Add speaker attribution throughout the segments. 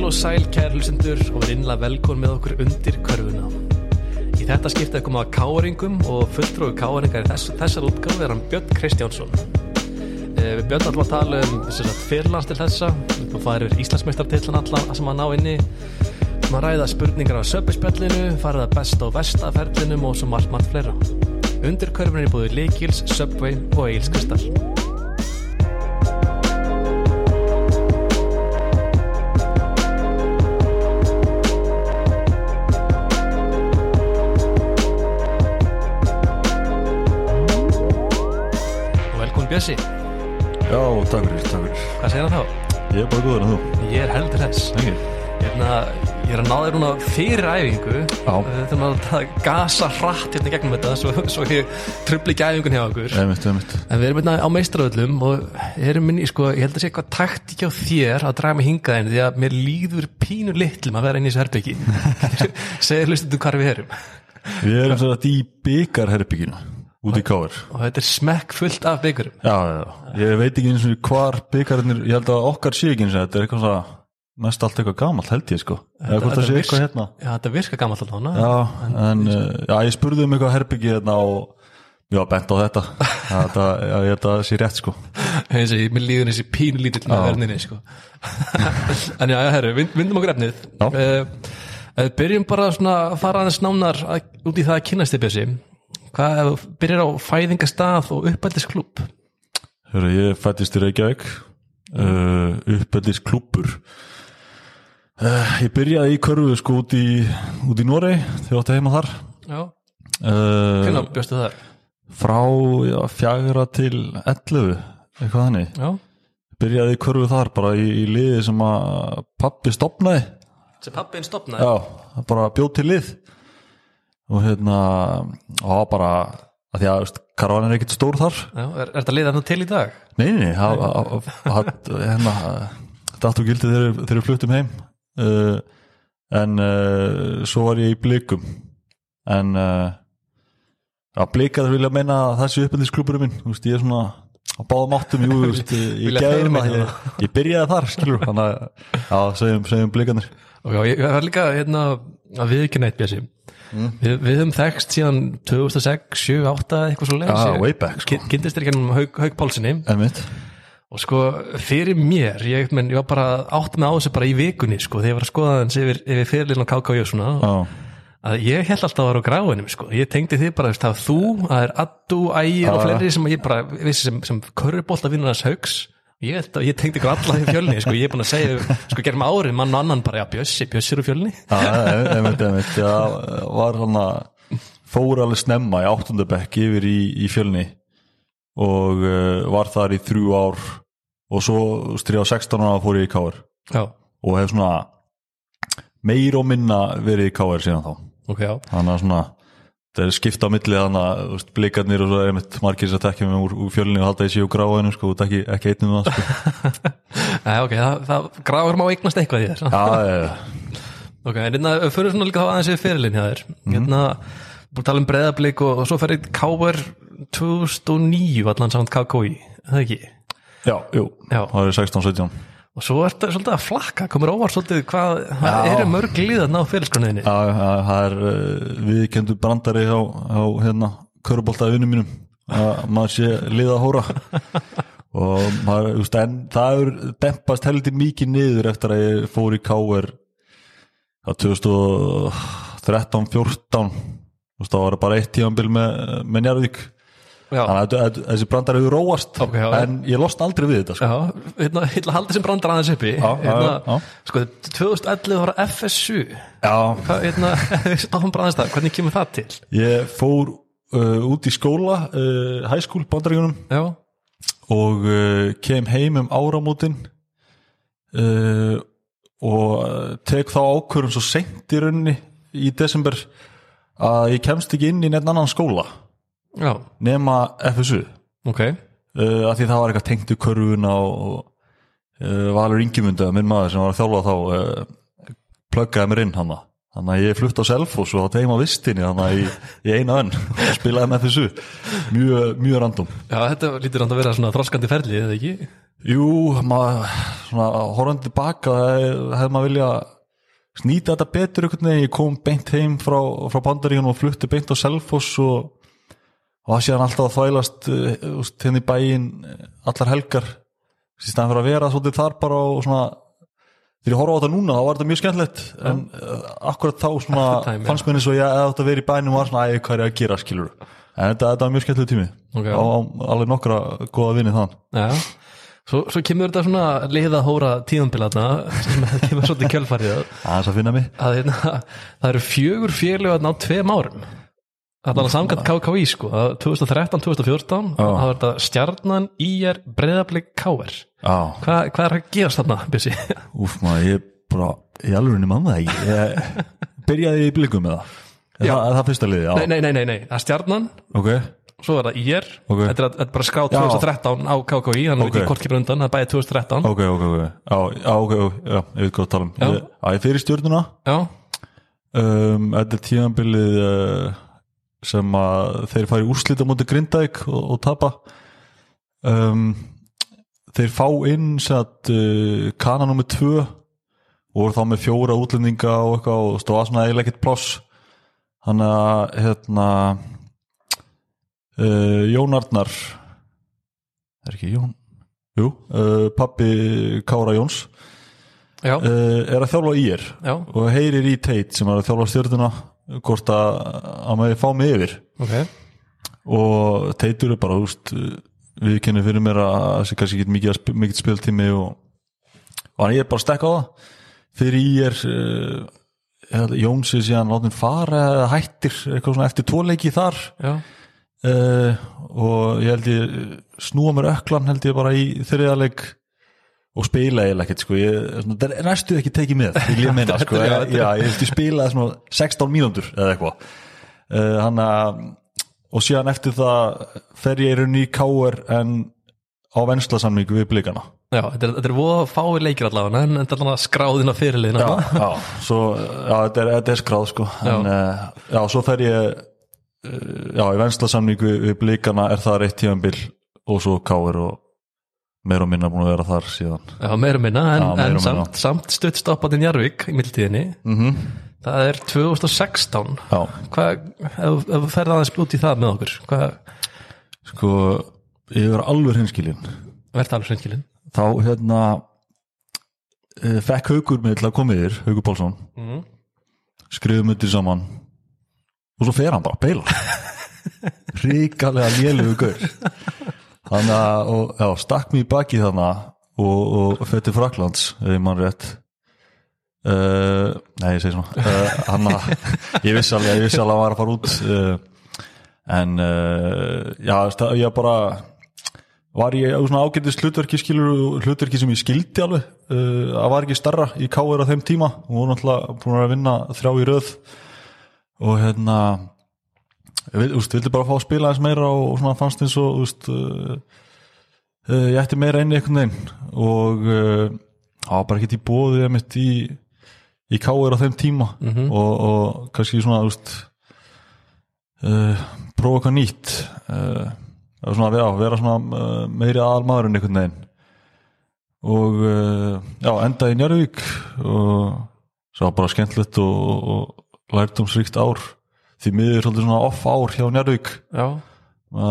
Speaker 1: og sæl kæri hlustendur og verið innlega velkon með okkur undir körfuna. Í þetta skiptið er komið að káringum og fulltróðu káringar í þess, þessar útgáfi er hann Björn Kristjánsson. Eh, Við Björn ætlum að tala um sem sagt, fyrirlands til þessa, við ætlum að fara yfir Íslandsmeistartillan allan sem að ná inni, við ætlum að ræða spurningar af söpuspjallinu, farið að besta og versta ferlinum og svo margt, margt fleira. Undir körfuna er búið Leikils, Subway og Egil's Kristall. Og velkomin Bjössi,
Speaker 2: Já, takk fyrir, takk fyrir.
Speaker 1: hvað segir hann þá?
Speaker 2: Ég er bara góður en þú.
Speaker 1: Ég er heldur þess.
Speaker 2: Ekki?
Speaker 1: Hérna, ég er að ná þér núna fyrir æfingu
Speaker 2: Já.
Speaker 1: Uh, Þegar maður að gasa hratt hérna í gegnum þetta Svo, svo ég trubli ekki æfingun hjá okkur
Speaker 2: Nei, mitt, mitt.
Speaker 1: En við erum hérna á meistraöllum Og erum minni, sko, ég held að sé eitthvað takt ekki á þér Að draga mig hingað henni Því að mér líður pínu litlum að vera inn í þessu herbyggi Segir hlustum hvar við erum
Speaker 2: Við erum svo þetta í byggarherbygginu, út í káir.
Speaker 1: Og þetta er smekk fullt af byggurum
Speaker 2: Já, já, já. Ég veit ekki eins og hvar byggarnir, ég held að okkar sé ekki eins og þetta er eitthvað svona, mest allt eitthvað gamalt held ég sko. Eða hvort það sé
Speaker 1: virk-
Speaker 2: eitthvað hérna.
Speaker 1: Já, þetta virkar gamall alltaf hana
Speaker 2: Já, en uh, já, ég spurði um eitthvað herbyggi hérna og ég var bent á þetta. þetta já, ég held að það sé rétt sko.
Speaker 1: Þessi, mér líður þessi pínu lítill með verðinni sko. en já, já, herru, vind, vindum okkur efnið
Speaker 2: Já.
Speaker 1: uh, uh, byrjum bara svona að fara aðeins nánar að, út í það að kynast þér Bjössi hvað ef þú byrjar á fæðingastað og uppæltisklúb
Speaker 2: Hörru, ég fættist í Reykjavík uh, uppeldis klúpur uh, Ég byrjaði í körfu sko út í, út í Norei þegar ég átti heima þar
Speaker 1: já,
Speaker 2: uh,
Speaker 1: hvernig bjóstu þar
Speaker 2: frá já, fjagra til 11 eitthvað þannig
Speaker 1: já,
Speaker 2: byrjaði í körfu þar bara í, í liði sem að pappi stopnaði
Speaker 1: sem pappin stopnaði
Speaker 2: Já, bara bjóð til lið og hérna og það var bara að því að veist, karvan er ekkert stór þar
Speaker 1: Já, er, er þetta liðan til í dag?
Speaker 2: Nei, nei, nei, það- það- það- hérna, þetta áttu gildi þegar þegar við fluttum heim uh, en uh, svo var ég í blikum en uh, að blika þar vilja meina að það sé uppendisklúburum minn, þú veist, ég er svona á báðum áttum, jú, þú veist, ég
Speaker 1: Vilja þeir
Speaker 2: gæðum að
Speaker 1: meina
Speaker 2: ég, ég byrjaði þar, skilur þannig að, já, segjum, segjum blikanir
Speaker 1: og já, ég ég var líka hérna að við ekki neitt Bjössi
Speaker 2: Mm.
Speaker 1: Við, við höfum þekst síðan 2006, 7, 8 eitthvað svo leiðis
Speaker 2: Já, way back, sko.
Speaker 1: Kynntist þér ekki hann um Haug, Haug Pálsini
Speaker 2: en mitt,
Speaker 1: Og sko, fyrir mér, ég, menn, ég var bara átt með á þessu bara í vikunni, sko, þegar ég var að skoða hans yfir, yfir fyrirlinn og KKJ svona,
Speaker 2: já,
Speaker 1: að ég held alltaf að vera á gráinum, sko. Ég tengdi þið bara, veist, það var þú, það er Addu, Ægir og
Speaker 2: Já, já.
Speaker 1: fleiri sem ég bara, vissi, sem, sem körubólta vinnarnas haugs. Ég, held að- ég tengdi ykkur alla í fjölni, sko, ég er búin að segja, sko, gerum árið, mann og annan bara, já, Bjössi, Bjössi eru fjölni.
Speaker 2: já, en mitt, en mitt já, var hann að fór alveg snemma í áttundabekk yfir í, í fjölni og uh, var þar í þrjú ár og svo þú veist, þegar ég var 16 ára fór ég í káar
Speaker 1: Já,
Speaker 2: og hef svona meir og minna verið í káar síðan þá
Speaker 1: ok, já.
Speaker 2: þannig að svona það er skipta á milli þannig að þú veist, blikarnir og svo er mitt margir sem tekja mig úr, úr fjölni og halda þessi og gráinu sko, og ekki, ekki einnum það sko.
Speaker 1: Æ, ok, það, það gráður má eignast eitthvað í þér.
Speaker 2: já, já,
Speaker 1: Ok, en hérna, fyrir svona líka þá aðeins yfir fyrirlin hjá þér
Speaker 2: Mhm.
Speaker 1: Hérna, búin að tala um breðablík og, og svo ferði KR 2009 allan samt KKI, er það ekki?
Speaker 2: já, jú,
Speaker 1: Já.
Speaker 2: það er 16-17
Speaker 1: Og svo ertu svolítið að flakka, komur óvart svolítið hvað, það eru mörg lið að ná fyrirskroninni
Speaker 2: Já, já, það er uh, viðkendur brandari á, á hérna, köruboltaðinu mínum að maður sé liða hóra og maður, þú veist, en það er dempast heldur mikið niður eftir að ég fór í K.R. á 2013-14 þú veist, það var bara eitt tímanbil með, með Njarðvík
Speaker 1: Já,
Speaker 2: þannig að þetta- þetta- þessi brandari hefur róast
Speaker 1: Ok, já, já.
Speaker 2: en ég losna aldrei við þetta sko.
Speaker 1: já, hérna, hérna haldið sem brandar aðeins uppi
Speaker 2: Já, já,
Speaker 1: hérna,
Speaker 2: já.
Speaker 1: Sko, 2011 var FSU
Speaker 2: Já,
Speaker 1: Hvað, hérna, áfram bara aðeins það, hvernig kemur það til?
Speaker 2: ég fór uh, út í skóla uh, high school bandaríunum
Speaker 1: Já,
Speaker 2: og uh, kem heim um áramótin uh, og uh, tek þá ákvörðum svo seint í rauninni í desember að ég kemst ekki inn í neitt annan skóla
Speaker 1: já,
Speaker 2: nema FSU uh,
Speaker 1: ok
Speaker 2: að Eh, því það var eitthvað tengt í körfuna og uh, Valur Ingemund eða minn maður sem var að þjálfa þá uh, pluggaði mér inn hann þannig að ég flutt á Selfoss og það tegum á vistinni þannig að ég, ég eina önn og spilaði með FSU mjög, mjög random
Speaker 1: Já, þetta lítur hann að vera svona þroskandi ferlið, eða ekki?
Speaker 2: Jú, maður, svona, horfandi tilbaka hef- hefði maður vilja snýta þetta betur einhvern veginn, ég kom beint heim frá, frá Bandaríunum og flutti beint á Selfoss og, og það síðan alltaf að þvælast uh, úst, hérna í bæinn eh, allar helgar í staðan fyrir að vera svolítið þar bara og svona þegar ég horfa á þetta núna þá var þetta mjög skemmtilegt en uh, akkurat þá svona
Speaker 1: At the time,
Speaker 2: fannst mér eins og ég eða átt að vera í bænum og var svona æg hvað er ég að gera skilur en þetta, þetta var mjög skemmtilegt tími
Speaker 1: Ok.
Speaker 2: á, á alveg nokkra góða vinni þann
Speaker 1: Já, svo, svo kemur þetta svona leiða hóra tíðanbilaðna sem kemur svolítið kjölfarið að,
Speaker 2: aðeins að finna mig
Speaker 1: að hérna, það eru fjögur fjölu að ná tveim árum Þannig að samkvæmt KKÍ sko að 2013-2014
Speaker 2: Já.
Speaker 1: það var þetta stjarnan IR breyðablik KR
Speaker 2: Já,
Speaker 1: Hva, Hvað er að gerast þarna, Bissi?
Speaker 2: úf maður, ég bara í alveg mann það ekki ég, Byrjaði í blikum með það
Speaker 1: Já.
Speaker 2: Það, það fyrsta liði, já
Speaker 1: nei, nei, nei, nei, nei, það er stjarnan
Speaker 2: Ok,
Speaker 1: svo er það IR,
Speaker 2: Ok.
Speaker 1: þetta er að- þetta er bara skrá
Speaker 2: Já.
Speaker 1: 2013 á KKÍ, þannig
Speaker 2: Ok.
Speaker 1: okay. hvort kemur undan það er bæði 2013,
Speaker 2: ok, ok, ok Já, já, ok, ok, já, ég veit hvað að tala um
Speaker 1: Já.
Speaker 2: Ég- Já, ég fyrir stjórnuna
Speaker 1: já,
Speaker 2: um, Þetta er tíðanbilið uh, sem að þeir fara í úrslita múti Grindavík og, og tapa um, Þeir fá inn satt, uh, kana nummer tvö og voru þá með fjóra útlendinga og eitthvað og stóða svona eiginlega ekkert pláss Þannig að hérna uh, Jón Arnar er ekki Jón Jú, uh, pappi Kára Jóns
Speaker 1: já,
Speaker 2: uh, er að þjálfa í er
Speaker 1: já,
Speaker 2: og heyrir í Tate sem er að þjálfa stjórnuna hvort að að maður fá mig yfir
Speaker 1: ok
Speaker 2: og Tate eru bara úst, við kennum fyrir mér að þessi kannski ekki mikið, að sp- mikið spiltími og, og hann ég er bara að stekka á það fyrir í er uh, Jóns er síðan látin fara eða hættir eitthvað svona eftir tvoleiki þar
Speaker 1: já,
Speaker 2: uh, og ég held ég snúa mér öklan held ég bara í þriðaleg og spila eiginlega ekkert sko ég, svona, það er næstu ekki tekið með vil ég meina sko,
Speaker 1: Þetta
Speaker 2: já,
Speaker 1: er-
Speaker 2: já, ég held ég spilaði svona 16 mínútur eða eitthvað uh, hann að og síðan eftir það fer ég í rauninni í káur en á venslasamning við blikana
Speaker 1: já, þetta er, þetta er voða fáir leikir allavega, en þetta er allavega skráðin á fyrirliðina,
Speaker 2: já, já, svo, já þetta, er, þetta er skráð sko en uh, já, svo fer ég uh, já, í venslasamning við, við blikana er það reitt tíðanbil og svo káir og meira og minna búin að vera þar síðan
Speaker 1: já, meira og minna en,
Speaker 2: Já, meira og
Speaker 1: en
Speaker 2: minna.
Speaker 1: samt, samt stuttstoppatin Jarvik í mildtíðinni,
Speaker 2: -hmm.
Speaker 1: það er 2016
Speaker 2: já,
Speaker 1: hvað, ef ef þú ferð aðeins út í það með okkur, hvað
Speaker 2: sko ég er alveg hinskilin
Speaker 1: verðt alveg sveinskilin
Speaker 2: þá hérna uh, fekk Haugur mig til að koma yfir Haugur Pálsson
Speaker 1: Mhm.
Speaker 2: skrifum undir saman og svo fer hann bara að beila ríkalega lélugu gaur þannig að og, já, stakk mér í baki þannig og, og fætti Fraklands ef ég mann rétt uh, nei ég segi svona uh, hann að ég vissi alveg ég vissi alveg að hann var að fara út uh, en uh, já sta- ég bara var ég á svona ágætist hlutverki skilur hlutverki sem ég skildi alveg uh, að var ekki starra í káir á þeim tíma og voru náttúrulega búin að vinna þrjá í röð og hérna ég vil- úst, vildi bara fá að spila aðeins meira og, og svona fannst eins og úst, uh, uh, ég ætti meira inn í einhvern veginn og uh, það var bara ekkert í bóðið mitt í, í káir á þeim tíma og, og kannski svona úst, uh, prófa eitthvað nýtt uh, eða svona, já, vera svona uh, meiri aðalmaðurinn einhvern veginn og uh, já, endaði í Njárvík og svo var bara skemmtilegt og, og lærtumsríkt ár því miður svolítið svona off ár hjá Njárvík
Speaker 1: já,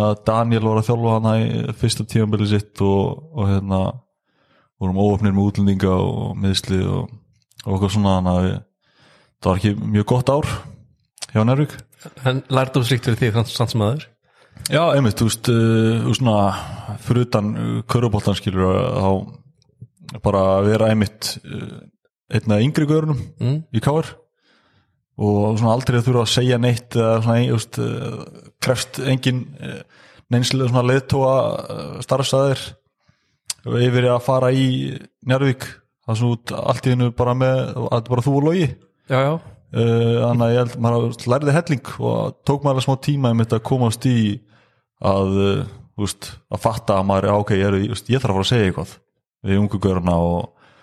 Speaker 2: að Daniel var að þjálfa hana í fyrsta tímabili sitt og, og hérna vorum óöfnir með útlendinga og miðsli og, og eitthvað svona þannig að við- það var ekki mjög gott ár hjá Njárvík
Speaker 1: en lærðu slikt fyrir því þannig samt sem aður
Speaker 2: Já, einmitt, þú veist, uh, þú svona, fyrir utan köruboltan skilur eh, þá bara að vera einmitt uh, einn af yngri görunum
Speaker 1: mm.
Speaker 2: í káir og svona aldrei að þurfa að segja neitt eða svona, þú veist, uh, krefst engin uh, neinslega svona leiðtóa uh, starfstæðir yfir að fara í Njarvík, það er svona út allt í hennu bara með, að þetta er bara þú og logi
Speaker 1: já, já,
Speaker 2: Uh, þannig að ég held maður lærði helling og tók maður alveg smá tíma um þetta að komast í að uh, úst, að fatta að maður, já, ok, ég, er, úst, ég þarf að fara að segja eitthvað við ungu görna og,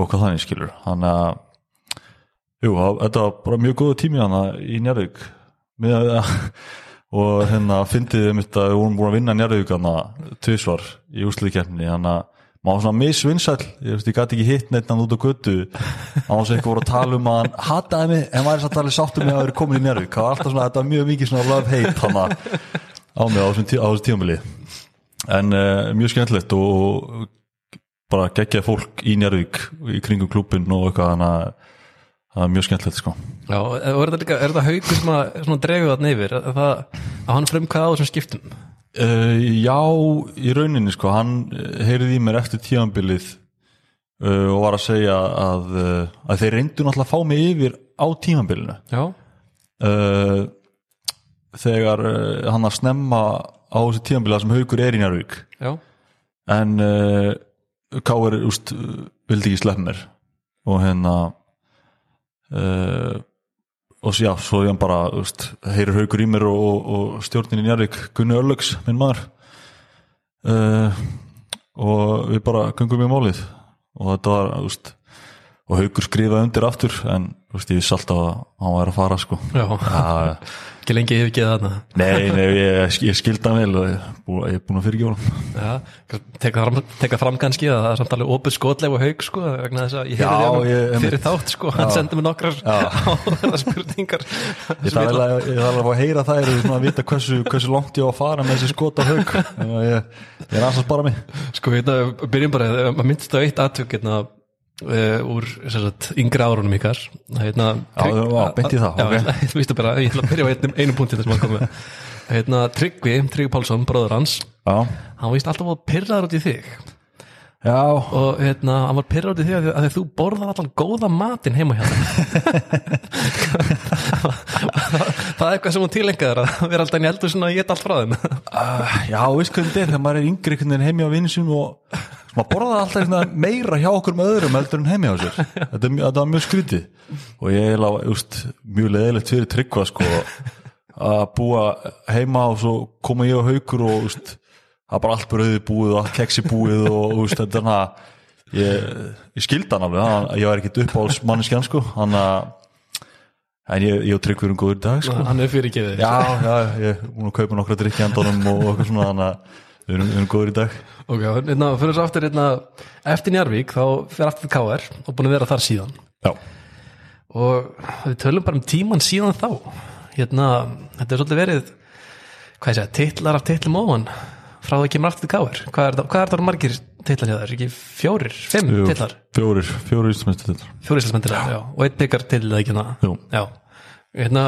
Speaker 2: og hvað þannig skilur þannig að jú, að- þetta var bara mjög góða tími hana í Njárvík með að og hérna fyndið um þetta við vorum búin að vinna Njárvík hana tvisvar í úsliðkeppninni þannig að maður var svona misvinsall ég, veist, ég gæti ekki hitt neitt hann út á götu maður sem eitthvað voru að tala um að hann hataði mig en maður er satt alveg sáttur með að vera komin í njörg það var alltaf svona, þetta var mjög mikið svona love hate hann að- á mig á þessum, tí, á þessum tíumili en uh, mjög skemmtilegt og, og bara geggjaði fólk í Njárvík í kringum klúbin og eitthvað þannig að það er mjög skemmtilegt sko
Speaker 1: Já, og er þetta líka, er þetta haugur sem að, sem að dregur þarna yfir, að, það, að hann frumkvæði á þessum skiptum?
Speaker 2: uh, Já, í rauninni sko hann eh, heyrði í mér eftir tíðanbilið uh, og var að segja að, uh, að þeir reyndu náttúrulega að fá mig yfir á tíðanbilinu
Speaker 1: Já,
Speaker 2: uh, þegar uh, hann að snemma á þessu tíðanbilið sem haugur er í Njárvík
Speaker 1: já,
Speaker 2: en uh, Káur úst, uh, vildi ekki slepp mér og hérna uh, og s- já, svo ég hann bara úst, heyrir haugur í mér og, og, og stjórnin í Njarvík, Gunni Örlöks, minn maður uh, og við bara gungum í málið og þetta var úst, og haugur skrifaði undir aftur en úst, ég vissi alltaf að hann var að fara sko
Speaker 1: já,
Speaker 2: Já,
Speaker 1: ekki lengi yfir geða þarna.
Speaker 2: nei, nei, ég, ég skildi hann vel og ég, bú- ég er búin að fyrirgefa hann
Speaker 1: Já, teka fram, teka fram kannski að það er samt alveg opið skotleg og haug sko, vegna þess að ég
Speaker 2: Já,
Speaker 1: heyrði hann
Speaker 2: ég-
Speaker 1: fyrir
Speaker 2: einmitt.
Speaker 1: þátt sko, hann sendi mér nokkrar áhverða spurningar.
Speaker 2: Ég
Speaker 1: sem ég-
Speaker 2: þarf alveg ég þarf alveg að heyra það er svona að vita hversu, hversu langt ég á að fara með þessi skot af haug Þannig að ég, ég er aðeins að spara mig
Speaker 1: Sko, hérna, byrjum bara, eh, maður myndist á eitt atvök hérna, uh, úr sem sagt, yngra árunum ykkar hérna,
Speaker 2: Já, já, beint í
Speaker 1: já,
Speaker 2: það, ok.
Speaker 1: ég, ég, bara, ég ætla að byrja á einum, einum punkti sem hann kom með hérna, Tryggvi, Tryggvi Pálsson, bróður hans
Speaker 2: Já,
Speaker 1: hann vist alltaf að pyrraður út í þig
Speaker 2: já
Speaker 1: og hérna, hann var pyrraður út í þig að, að þú borðar allan góða matinn heima hjá þér það er eitthvað sem hún tilengar að vera alltaf inn í eldur svona að geta allt frá þeim
Speaker 2: uh, Já, veist hvernig þetta er þegar maður er yngri einhvern veginn heimi á vinsum og maður borðaði alltaf svona meira hjá okkur með öðrum heldur en heimi á sér Þetta, er mjög- þetta var mjög skrítið og ég er alveg, úst, mjög leðilegt fyrir tryggva sko að búa heima og svo koma ég og haukur og úst, það er bara allt bröði búið og allt keksi búið og úst, þetta er hann að ég, ég skildi hann alveg, hann, ég var ekkit uppáhalds manneskjan sko, hann að en ég, ég og tryggva erum góður í dag sko
Speaker 1: hann er fyrirgefið
Speaker 2: já, já, ég er búin að kaupa nokkra drikki andanum og og eitthvað svona þannig að við erum, við erum góður í dag
Speaker 1: Ok, hérna, fyrir þessu aftur hérna, eftir Njarvík þá fyrir aftur til KR og búin að vera þar síðan
Speaker 2: já,
Speaker 1: og við tölum bara um tíman síðan þá hérna, þetta er svolítið verið hvað ég segja, titlar af titlum ofan frá það kemur aftur til KR hvað er, það- hvað er það margir titlar hjá þær? Ekki fjórir, fimm
Speaker 2: Jú,
Speaker 1: titlar,
Speaker 2: fjórir, fjórir íslumestir titlar
Speaker 1: fjórir íslensmendir já, og einn byggar til það ekki hérna
Speaker 2: Jú.
Speaker 1: Já, hérna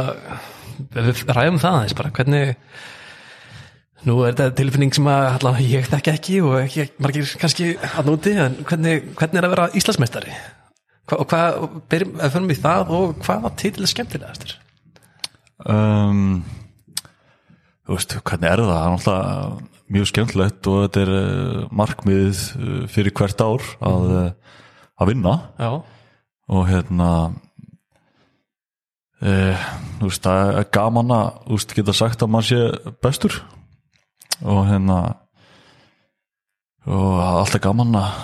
Speaker 1: við ræðum það aðeins bara, hvernig Nú er þetta tilfinning sem að allan, ég þekki ekki og ekki, margir kannski að núti, en hvernig, hvernig er að vera Íslandsmeistari? Hva, og hvað, og byrjum, ef fyrir mig það og hvað var titil skemmtilegastur?
Speaker 2: um, þú veist, hvernig er það það er náttúrulega mjög skemmtilegt og þetta er eh, markmiðið eh, fyrir hvert ár að, mm. að vinna
Speaker 1: Já,
Speaker 2: og hérna eh, þú veist, það er gaman að þú veist, geta sagt að maður sé bestur og hérna og það er alltaf gaman að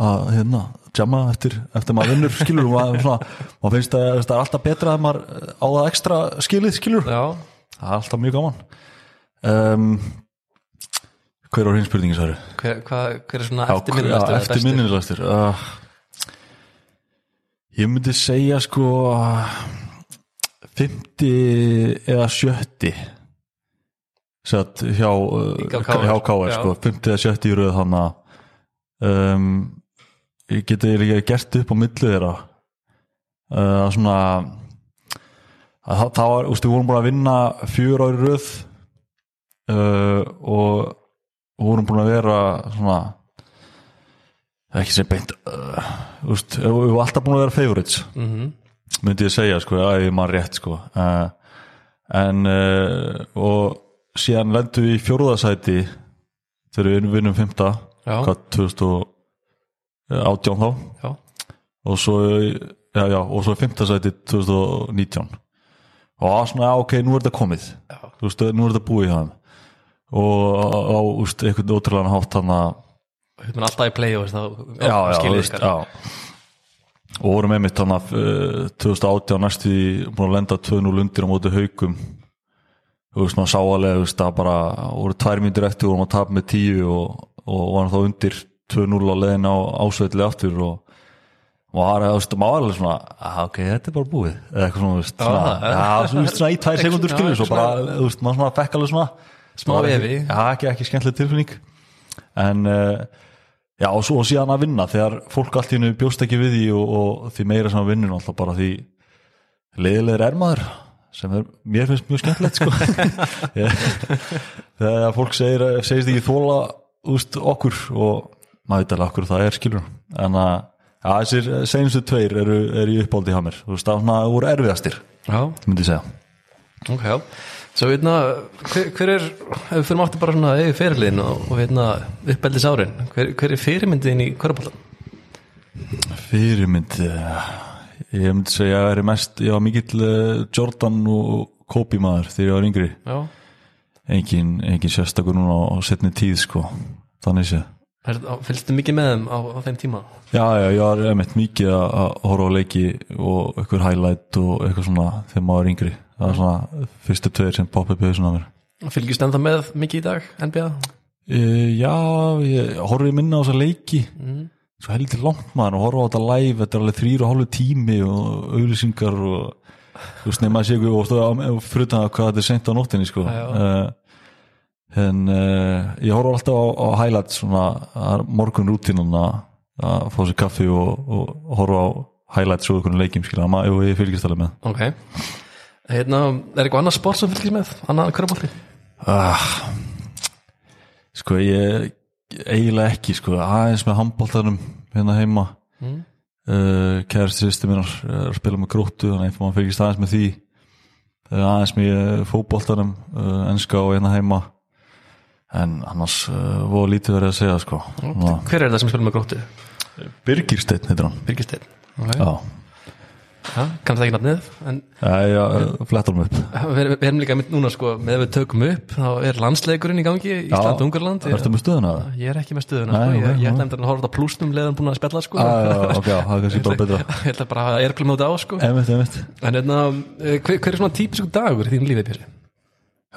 Speaker 2: að hérna djama eftir, eftir maður vinnur skilur og maður, svona, maður finnst að það er alltaf betra að maður á það ekstra skilið skilur
Speaker 1: já,
Speaker 2: það er alltaf mjög gaman um, hver var hinn spurningin sari?
Speaker 1: hver, hvað, hver er svona
Speaker 2: Já,
Speaker 1: eftirminnilegastur?
Speaker 2: já,
Speaker 1: eða bestur?
Speaker 2: eftirminnilegastur uh, ég myndi segja sko 50 eða 70 Sett
Speaker 1: Hjá
Speaker 2: hjá uh,
Speaker 1: KR,
Speaker 2: hjá KR
Speaker 1: já.
Speaker 2: sko, 50 eða 70 í röð hann að um, ég geti líka gert upp á millu þeirra uh, svona að það, það var, úst, við vorum búin að vinna fjör ári röð uh, og vorum búin að vera svona ekki sem beint uh, úst, við vorum alltaf búin að vera favorites
Speaker 1: Mhm.
Speaker 2: myndi ég segja sko, að ég maður rétt sko uh, en uh, og síðan lendum við í fjórðasæti þegar við vinnum fymta
Speaker 1: Já.
Speaker 2: hvað 2018 þá
Speaker 1: Já,
Speaker 2: og svo já, já, og svo fymtasæti 2019 og það var svona, já, ok, nú er þetta komið
Speaker 1: Já.
Speaker 2: Þú veist, nú er þetta búið hjá þeim og á, úst, einhvern ótrúlegan hátt hann að
Speaker 1: hérna alltaf í play og þá
Speaker 2: já, já, þú
Speaker 1: skiljið
Speaker 2: veist,
Speaker 1: ykkar.
Speaker 2: já og vorum einmitt eh, hann að 2018 næstu því búin að lenda 2-0 undir á móti haukum þú veist, maður sá alveg þú veist, að bara voru tvær myndir eftir vorum að tapa með 10 og, og var hann þá undir 2-0 á leiðin á ásveitli aftur og maður var veist, maður var alveg svona "Ah, ok, þetta er bara búið eða eitthvað svona, þú veist, svona,
Speaker 1: já.
Speaker 2: já, þú veist, svona í tvær
Speaker 1: Ekki-
Speaker 2: sekundur
Speaker 1: já,
Speaker 2: skilur svo
Speaker 1: ekki
Speaker 2: bara, þú veist, maður svona fekk alveg svona
Speaker 1: Smá
Speaker 2: Það var ekki-
Speaker 1: efi.
Speaker 2: já, ekki, ekki skemmtileg tilfinning en eh, já, og svo síðan að vinna þegar fólk allt í hennu bjóst ekki við því og, og því meira sem að vinnur alltaf bara því leiðilegur er maður sem er, mér finnst mjög skemmtilegt sko. Ég- þegar fólk segir, segist ekki þóla úst, okkur og maður veit alveg okkur það er skilur en að ja, þessir seinustu tveir eru, eru í uppáldi hjá mér þú veist, það svona voru erfiðastir
Speaker 1: Já,
Speaker 2: myndi ég segja
Speaker 1: ok, já Svo veitna, hver, hver er ef við fyrir aftur bara svona eigi fyrirliðin og, og veitna uppeldis árin hver, hver er fyrirmyndin í kvörbólan?
Speaker 2: fyrirmynd eh, ég myndi segja að ég er mest ég var mikill eh, Jordan og Kobe maður þegar ég var yngri
Speaker 1: Já,
Speaker 2: engin, engin sérstakur núna á setni tíð sko, þannig séð
Speaker 1: Er- á- fylgstu mikið með þeim á, á þeim tíma?
Speaker 2: Já, já, ég var einmitt mikið að að horfa á leiki og einhver highlight og eitthvað svona þegar maður er yngri það var svona fyrstu tveir sem poppa upp í hausinn á mér
Speaker 1: Fylgist ennþá með mikið í dag, NBA?
Speaker 2: e, Já, ég horfði minna á þessa leiki svo heldur langt maður og horfa á þetta live þetta er alveg þrýr og hálfu tími og auðlýsingar og þú veist nema að sé ekki og stóða á frutan að hvað þetta er sent á nóttinni sko
Speaker 1: Já,
Speaker 2: uh, en uh, ég horfa alltaf á, á highlights svona að morgun rútinuna að fá sér kaffi og, og horfa á highlights og einhvern leikjum skilja maður, jú, ég fylgist alveg með
Speaker 1: Ok Hérna, er eitthvað annað sport sem fylgist með? Annað kvörbólti?
Speaker 2: ah, sko ég eiginlega ekki sko aðeins með handbóltanum hérna heima mm. uh, kæristi sýsti minnar er að spila með gróttu þannig að maður fylgist aðeins með því uh, aðeins með fótbóltanum uh, enska og hérna heima en annars uh, voru lítið verið að segja sko Ná,
Speaker 1: Hver er það sem spilur með gróttu?
Speaker 2: Birgirsteinn heitir hann
Speaker 1: Birgisteinn okay.
Speaker 2: já,
Speaker 1: ja, Kannst ekki nafnið En
Speaker 2: já, já flettar hann upp
Speaker 1: við, við erum líka mitt núna sko Með við tökum upp, þá er landsleikurinn í gangi Ísland-Ungarland ég,
Speaker 2: Ertu með stöðuna? það?
Speaker 1: ég er ekki með stöðuna
Speaker 2: Nei,
Speaker 1: sko. Ég,
Speaker 2: ok,
Speaker 1: ég
Speaker 2: ok.
Speaker 1: ætla endur að horfa á plúsnum Leðan búin að spjalla sko
Speaker 2: Já, já, Ah, já, ok, já, það er kannski bara betra
Speaker 1: Ég ætla bara að erglum á þetta á sko
Speaker 2: Einmitt, einmitt
Speaker 1: En hérna, eh, hver, hver er svona típisku dagur í þínu lífið Pési?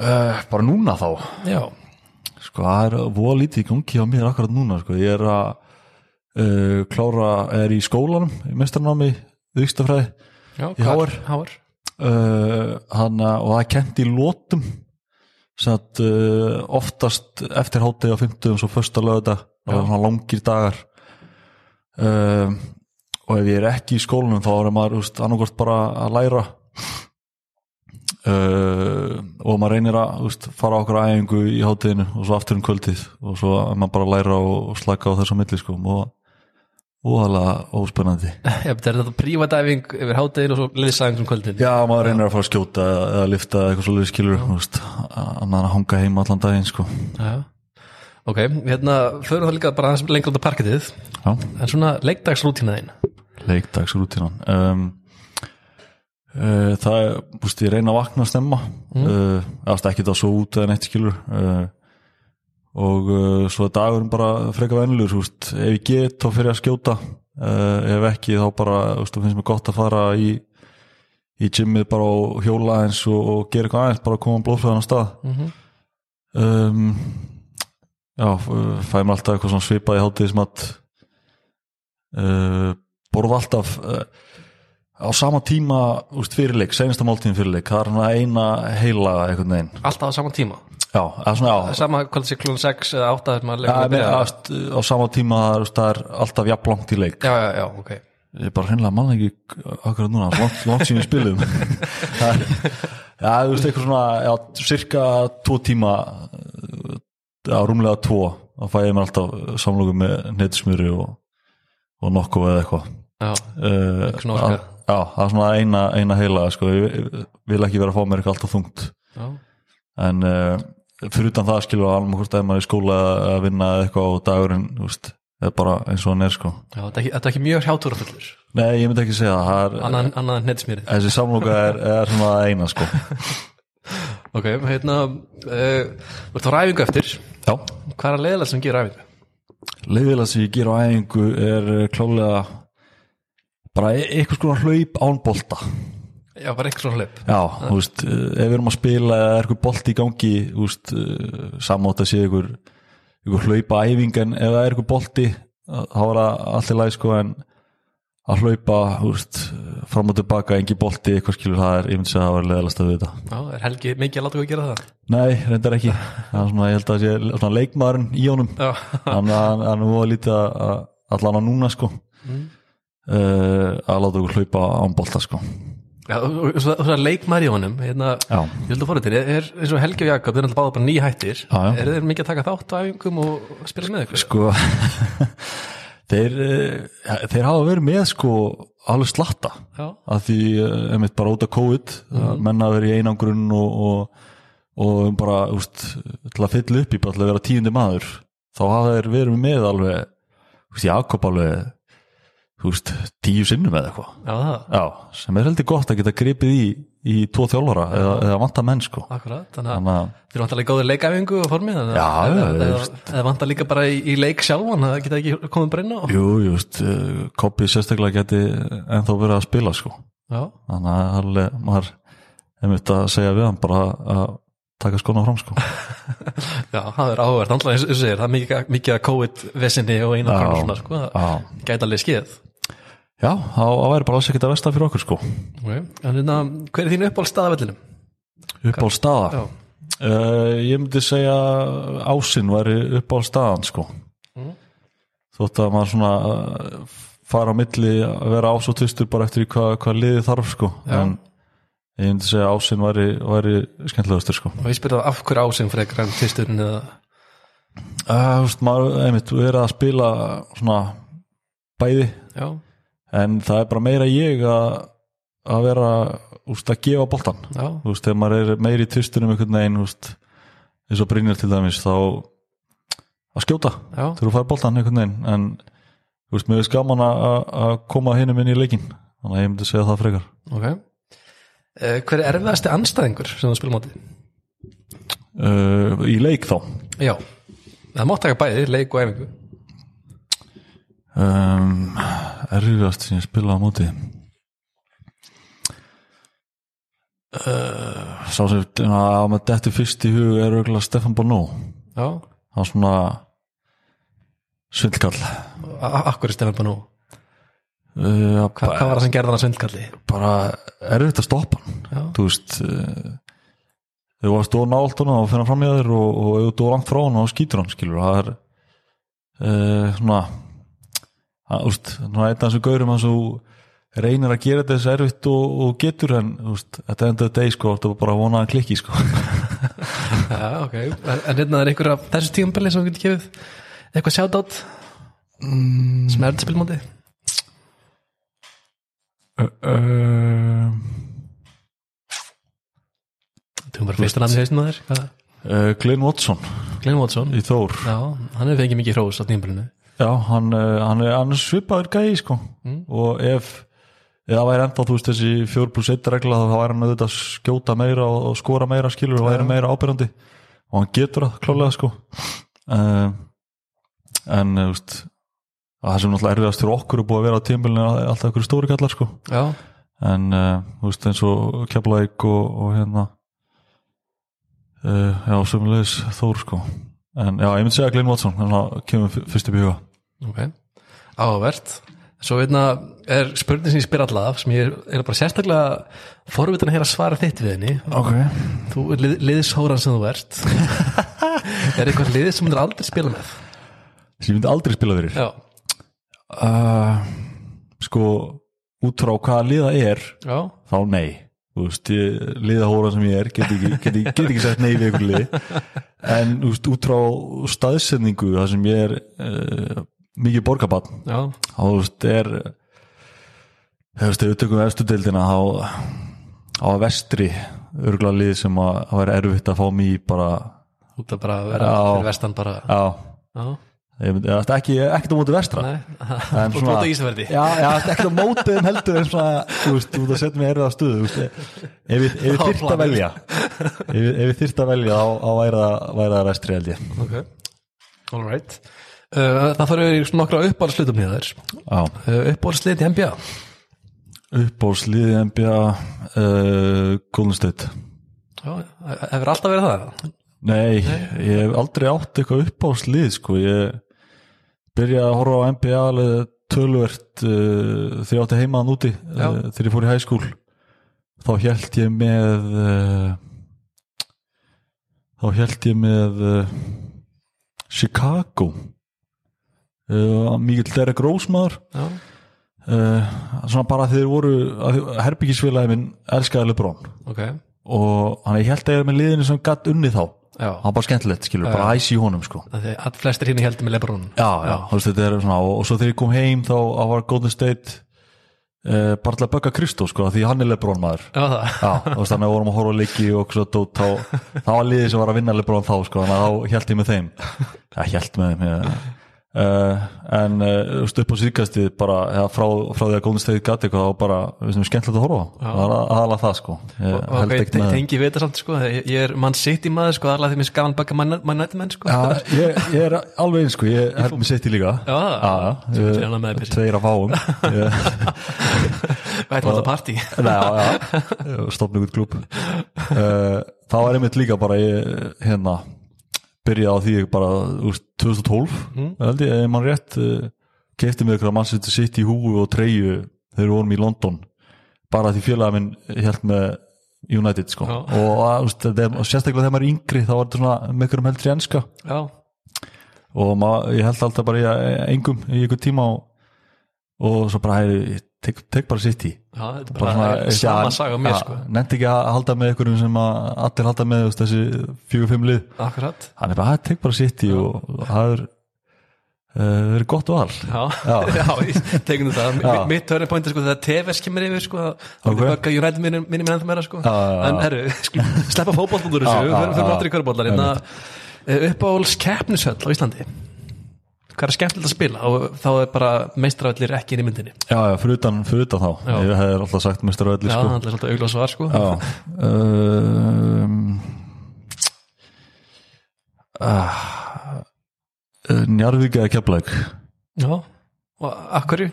Speaker 2: uh, Bara núna þá
Speaker 1: Já,
Speaker 2: Sko, það er voða lítið í gangi á mér akkurat núna, sko, ég er að uh, klára, er í skólanum í mestranámi, vikstafræði
Speaker 1: já,
Speaker 2: Í
Speaker 1: hvar?
Speaker 2: HR.
Speaker 1: Háar
Speaker 2: uh, hana, og það er kent í lótum sem að uh, oftast eftir hátegi á 50 svo fösta lögða, það er svona langir dagar um, og ef ég er ekki í skólanum þá er maður, þú veist, annarkvort bara að læra uh, og maður reynir að þú veist, fara á okkur æfingu í hátíðinu og svo aftur um kvöldið og svo er maður bara að læra og, og slaka á þessu milli sko og óðalega óspennandi
Speaker 1: Já, þetta er þetta prívatæfing yfir hádegin og svo liðsæðing um kvöldin
Speaker 2: Já, maður reynir að fara að skjóta eða, eða lifta eða eitthvað svolítið skilur þú veist, annan að hanga heima allan daginn sko
Speaker 1: Já. Ok, hérna förum það líka bara aðeins lengra út á parketið
Speaker 2: Já,
Speaker 1: en svona leikdagsrútína þín
Speaker 2: leikdagsrútinan um, uh, Það er, búst, ég reyna að vakna að stemma mm. uh, eða ekki það svo út eða neitt skilur uh, og uh, svo er dagurinn bara freka venlur veist, ef ég get þá fyrir að skjóta uh, ef ekki þá bara þú veist, þá finnst mér gott að fara í í gymmið bara og hjóla aðeins og, og gera eitthvað aðeins, bara að koma blóðflöðan á stað
Speaker 1: Mhm.
Speaker 2: um, já, f- fæ mér alltaf eitthvað svona svipað í hátíðismat uh, borða alltaf uh, á sama tíma úst, fyrirleik, senasta máltíðin fyrirleik það er hann að eina heila einhvern veginn
Speaker 1: alltaf á sama tíma,
Speaker 2: já, eða svona já,
Speaker 1: sama kvöld sér klun 6 eða 8 þegar maður
Speaker 2: Já,
Speaker 1: leikur
Speaker 2: ég
Speaker 1: að
Speaker 2: meina,
Speaker 1: byrja
Speaker 2: þú veist, á sama tíma þú veist, það er alltaf jafn langt í leik
Speaker 1: Já, já, já, ok
Speaker 2: ég bara hreinlega manna ekki akkurat núna, það er langt, langt síðan við spilum Það er- já, þú veist, eitthvað svona já, cirka tvo tíma já, rúmlega tvo þá fæ ég mér alltaf samlóku með netismjöri og, og nokkuð eða eitthvað
Speaker 1: Já,
Speaker 2: uh,
Speaker 1: Svona orka.
Speaker 2: að- já, það er svona eina, eina heila sko, ég, ég vil ekki vera að fá mér eitthvað alltaf þungt
Speaker 1: já,
Speaker 2: en uh, fyrir utan það skilur við alveg hvort að maður er í skóla að vinna eða eitthvað á dagurinn þú veist, er bara eins og hann er sko
Speaker 1: já þetta, er ekki, þetta er ekki mjög hjáttúrafullur
Speaker 2: nei, ég myndi ekki segja það, það er,
Speaker 1: annað, annað en hnettsmýrið
Speaker 2: þessi samloka er, er svona það eina sko
Speaker 1: Ok, hérna, uh, þú ert á ræfingu eftir
Speaker 2: já,
Speaker 1: Hvað er að leiðlega sem gerir ræfingu?
Speaker 2: leiðilega sem ég ger á æfingu er eh, klálega bara e- eitthvað sko hlaup án bolta
Speaker 1: Já, bara eitthvað svona hlaup
Speaker 2: já, þú veist, eh, ef við erum að spila eða er eitthvað bolti í gangi þú veist, samátt að sé eitthvað ykkur hlaupa æfing en ef það er ykkur bolti þá er það allir læg sko en að hlaupa úst, fram og tilbaka, engi bolti eitthvað skilur það er, ég myndi segja að það var leðalast að við þetta
Speaker 1: Já, er Helgi mikið að láta hvað gera það?
Speaker 2: nei, reyndar ekki það er svona, ég held að sé svona leikmaðurinn í honum
Speaker 1: Já,
Speaker 2: þannig að hann- hann er voða lítið að- að allan að núna sko
Speaker 1: Mm.
Speaker 2: uh, að láta ykkur hlaupa án bolta sko
Speaker 1: Já, og- og svo það leikmaður í honum hérna,
Speaker 2: Já.
Speaker 1: ég held að fóra til, er, er eins og Helgi og Jakob, þeir eru alltaf báða bara nýhættir
Speaker 2: Já, já.
Speaker 1: er þeir mikið að taka þátt á æfingum og og spila með ykkur?
Speaker 2: sko þeir, eh, þeir hafa verið með sko alveg slatta
Speaker 1: Já,
Speaker 2: að því eh, einmitt bara út af COVID mm. menna að vera í einangrun og, og, og bara úst, til að fylla upp í bara til að vera tíundi maður þá hafa þeir verið með alveg úst, Jakob alveg úst, tíu sinnum eða eitthvað
Speaker 1: já það,
Speaker 2: Já, sem er heldur gott að geta gripið í í tvo þjálfara eða, eða vanta menn sko
Speaker 1: akkurat þannig að
Speaker 2: þannig að
Speaker 1: þeir eru vantarlega góður leikæfingu og formið þannig
Speaker 2: Já,
Speaker 1: að-
Speaker 2: já,
Speaker 1: eða-
Speaker 2: já,
Speaker 1: eða- eða vantar líka bara í, í leik sjálfan það geta ekki komið bara inn á
Speaker 2: jú, jú, veist, eh, Kobbi sérstaklega geti ennþá verið að spila sko
Speaker 1: já,
Speaker 2: þannig að alveg, maður er mitt að segja við hann bara að taka skona fram sko
Speaker 1: já, það er áhverð þannig að segir, það er mikið, mikið að COVID-vesinni og eina
Speaker 2: Já.
Speaker 1: og svona sko, það
Speaker 2: já,
Speaker 1: gæti alveg skeið
Speaker 2: já þá þá væri bara alls ekkert að versta fyrir okkur sko
Speaker 1: okay. en hérna, hver er þín uppáhald staðavellinum?
Speaker 2: upp á staða
Speaker 1: Já.
Speaker 2: uh, ég myndi segja ásinn væri upp á staðan sko
Speaker 1: Mm.
Speaker 2: þótt að maður svona eh, fara á milli að vera ás og tvistur bara eftir í hvað hva liði þarf sko
Speaker 1: Já.
Speaker 2: en ég myndi segja ásinn væri, væri skemmtilegastur sko
Speaker 1: og ég spyrir af hverju ásinn frekar en tvisturinn eða
Speaker 2: uh, veist, maður, einmitt, við erum að spila svona bæði
Speaker 1: já,
Speaker 2: en það er bara meira ég að, að vera úst, að gefa boltan
Speaker 1: já,
Speaker 2: úst, þegar maður er meiri í tvistunum einhvern veginn úst, eins og Brynjar til dæmis þá að skjóta
Speaker 1: já
Speaker 2: þegar þú fær boltan einhvern veginn en úst, mér er gaman að, að- að koma hinum inn í leikin þannig að ég myndi segja það frekar
Speaker 1: Ok. Uh, hver er erfiðasti anstæðingur sem þú spilum á móti?
Speaker 2: uh, í leik þá
Speaker 1: Já. Það mátt taka bæði, leik og æfingu.
Speaker 2: um, erfiðast sem ég spila á móti uh, sá sem að maður dettur fyrst í hug er auðvitað Stefan Bonó
Speaker 1: Já.
Speaker 2: hann svona svindlkall
Speaker 1: A- Akkur er Stefán Banú?
Speaker 2: uh,
Speaker 1: Hva, hvað var það sem gerði hann að svindkalli?
Speaker 2: bara erfitt að stoppa hann
Speaker 1: Já.
Speaker 2: þú veist uh, þau varst og nált hann og finna fram í þér og, og ef þú er langt frá hann og skýtur hann skilur það er uh, svona að, úst, svona einn af þessum gaurum hans og reynir að gera þessu erfitt og, og getur en úst, þetta endaði deg sko þetta var bara að vona að klikki sko
Speaker 1: Já, ok. En, en hérna er einhverja þessu tíumbeli sem þú getur gefið? Eitthvað shoutout mm. sem er að spilum á móti?
Speaker 2: uh,
Speaker 1: Þú bara fyrsta nafni hausinu á þér. hvað?
Speaker 2: uh, Glenn Watson
Speaker 1: Glenn Watson.
Speaker 2: í Þór
Speaker 1: Já, hann hefur fengið mikið hrós á tíumbalinu.
Speaker 2: Já, hann, eh, hann, er, hann er svipaður gæi sko og ef eða það væri ennþá þú veist þessi 4 plus 1 regla þá væri hann auðvitað að skjóta meira og, og skora meira skilur og væri meira ábyrjandi og hann getur það klálega sko uh, en eh, þú veist að það sem náttúrulega erfiðast fyrir okkur er búið að vera á tímbilinu alltaf ykkur stóri kallar sko
Speaker 1: Já.
Speaker 2: en uh, þú veist eins og Keflavík og, og hérna uh, já, sömulegis Þór sko en já, ég myndi segja Glenn Watson þannig að kemur fyr- fyrst upp í huga
Speaker 1: Ok, áhugavert Svo veitna er spurning sem ég spyr alla af sem ég er bara sérstaklega forvitin að heyra svara þitt við henni
Speaker 2: okay.
Speaker 1: Þú er lið, liðshóran sem þú ert Er eitthvað lið sem þú aldrei spila með?
Speaker 2: sem ég myndi aldrei spila fyrir
Speaker 1: Já,
Speaker 2: uh, sko út frá hvaða liða er
Speaker 1: já,
Speaker 2: þá nei Þú veist, ég, liðahóra sem ég er get ekki, get, ekki- get ekki sagt nei við ykkur lið en þú veist, út frá staðsendingu það sem ég er uh, mikið borgabann
Speaker 1: já,
Speaker 2: þá þú veist er þú veist ef við tökum efstu deildina þá á vestri örgla lið sem að það væri erfitt að fá mér bara
Speaker 1: út að bara vera
Speaker 2: Já.
Speaker 1: fyrir vestan bara
Speaker 2: á
Speaker 1: Já,
Speaker 2: ég myndi, það er ekki, ekkert á móti vestra
Speaker 1: nei,
Speaker 2: En
Speaker 1: og
Speaker 2: svona-
Speaker 1: blóta ísverði
Speaker 2: Já, já, það er ekkert á mótið en heldur en svona, þú veist, þú ert að setja mig í erfiða stuðu, þú veist, ef við, ef við
Speaker 1: Á
Speaker 2: þyrft að
Speaker 1: planið.
Speaker 2: velja, ef við, ef við þyrft að velja, þá, þá væri það, væri það restri held ég.
Speaker 1: Ok, all right uh, Það þarf að vera í nokkra uppáhaldslutum hér þær
Speaker 2: Já,
Speaker 1: uh, Uppáhaldslið í NBA
Speaker 2: uppbólsliði NBA, uh, Golden State.
Speaker 1: Já, hefur alltaf verið það
Speaker 2: Nei, ég hef aldrei átt eitthvað upp á slið sko. ég byrjaði að horfa á NBA alveg tölvert uh, þegar ég átti heimaðan úti
Speaker 1: Já.
Speaker 2: uh, þegar ég fór í hæskúl þá held ég með uh, þá held ég með uh, Chicago uh, Mikil Derek Rósmaður
Speaker 1: Já,
Speaker 2: uh, svona bara þeir voru herbyggisfélagi minn elskaði Lebrón
Speaker 1: ok
Speaker 2: og hann ég held að ég er með liðinu sem gatt unni þá
Speaker 1: Já,
Speaker 2: það var bara skemmtilegt, skilur, bara æs í honum sko.
Speaker 1: að því að flestir hinn heldur með Lebron
Speaker 2: já, já, þú veist þetta er svona og, og svo þegar ég kom heim þá þá var Golden State uh, bara til að bögga Kristó, sko, því hann er Lebron maður
Speaker 1: Já, það
Speaker 2: já, þú veist þannig að við vorum að horfa á leiki og svo dót, þá, þá var liðið sem var að vinna Lebron þá, sko, þannig að þá held ég með þeim já, held með þeim, já uh, en uh, þú veist, upp á síðkastið bara, eða frá, frá því að Golden State gatt eitthvað, þá bara, við sem er skemmtilegt að horfa á. það er aðalega það, sko ég
Speaker 1: Og
Speaker 2: held
Speaker 1: ok,
Speaker 2: ekkert
Speaker 1: te-
Speaker 2: með
Speaker 1: tengi við þetta samt sko Ég ég er mann sitt í maður sko, alveg því mér skafan baka mannættumenn sko
Speaker 2: Já, ég, ég er alveg eins sko, ég held mér sitt í líka
Speaker 1: Já,
Speaker 2: já,
Speaker 1: Þú
Speaker 2: ég-
Speaker 1: ert hérna með þér, Pési.
Speaker 2: tveir af fáum Ég-
Speaker 1: Við ætlum alltaf partí
Speaker 2: Nei, já, já, stopna ykkur klub uh, þá er einmitt líka bara ég, hérna, byrjaði á því ég bara, úst, 2012
Speaker 1: Mm.
Speaker 2: held ég, ef mann rétt uh, kefti með ykkur að mann setja sitt í húgu og treyju þegar við vorum í London bara því félagið minn held með United sko
Speaker 1: Já.
Speaker 2: og, uh, úst, þeim, og sérstaklega þegar maður er yngri þá var þetta svona með ykkur um heldri enska
Speaker 1: Já,
Speaker 2: og maður, ég held alltaf bara í að- e, engum í einhver tíma og, og svo bara heyri, ég tek, tek bara sitt í
Speaker 1: já, þetta er bara e, sama saga á mér sko
Speaker 2: nefndi ekki að halda með einhverjum sem að allir halda með þú veist, þessi fjögur-fimm lið
Speaker 1: Akkurat
Speaker 2: hann er bara, "Ah, tek bara sitt í og og það er, uh, er gott val
Speaker 1: Já,
Speaker 2: Já.
Speaker 1: já, ég tekin þetta Mi-
Speaker 2: Já.
Speaker 1: Mitt törnum pointi sko þegar TVS kemur yfir sko Það
Speaker 2: Ok.
Speaker 1: er baka United minni minni ennþá meira sko
Speaker 2: já, já.
Speaker 1: En herru, skulum sleppa fótboltan úr
Speaker 2: Já,
Speaker 1: þessu
Speaker 2: já,
Speaker 1: Við förum-
Speaker 2: já,
Speaker 1: förum
Speaker 2: já.
Speaker 1: aftur í körbóllar hérna Uppáhóls keppnishöll á Íslandi Hvað er skemmtilegt að spila og þá er bara meistravellir ekki inn í myndinni
Speaker 2: já, já, fyrir utan, fyrir utan þá
Speaker 1: Já.
Speaker 2: ég hefði alltaf sagt mestur öll
Speaker 1: Já,
Speaker 2: sko.
Speaker 1: það er alltaf augljóð svar sko
Speaker 2: já. Um, uh, Njarvík ah, eða Keflæk
Speaker 1: Já, og af hverju?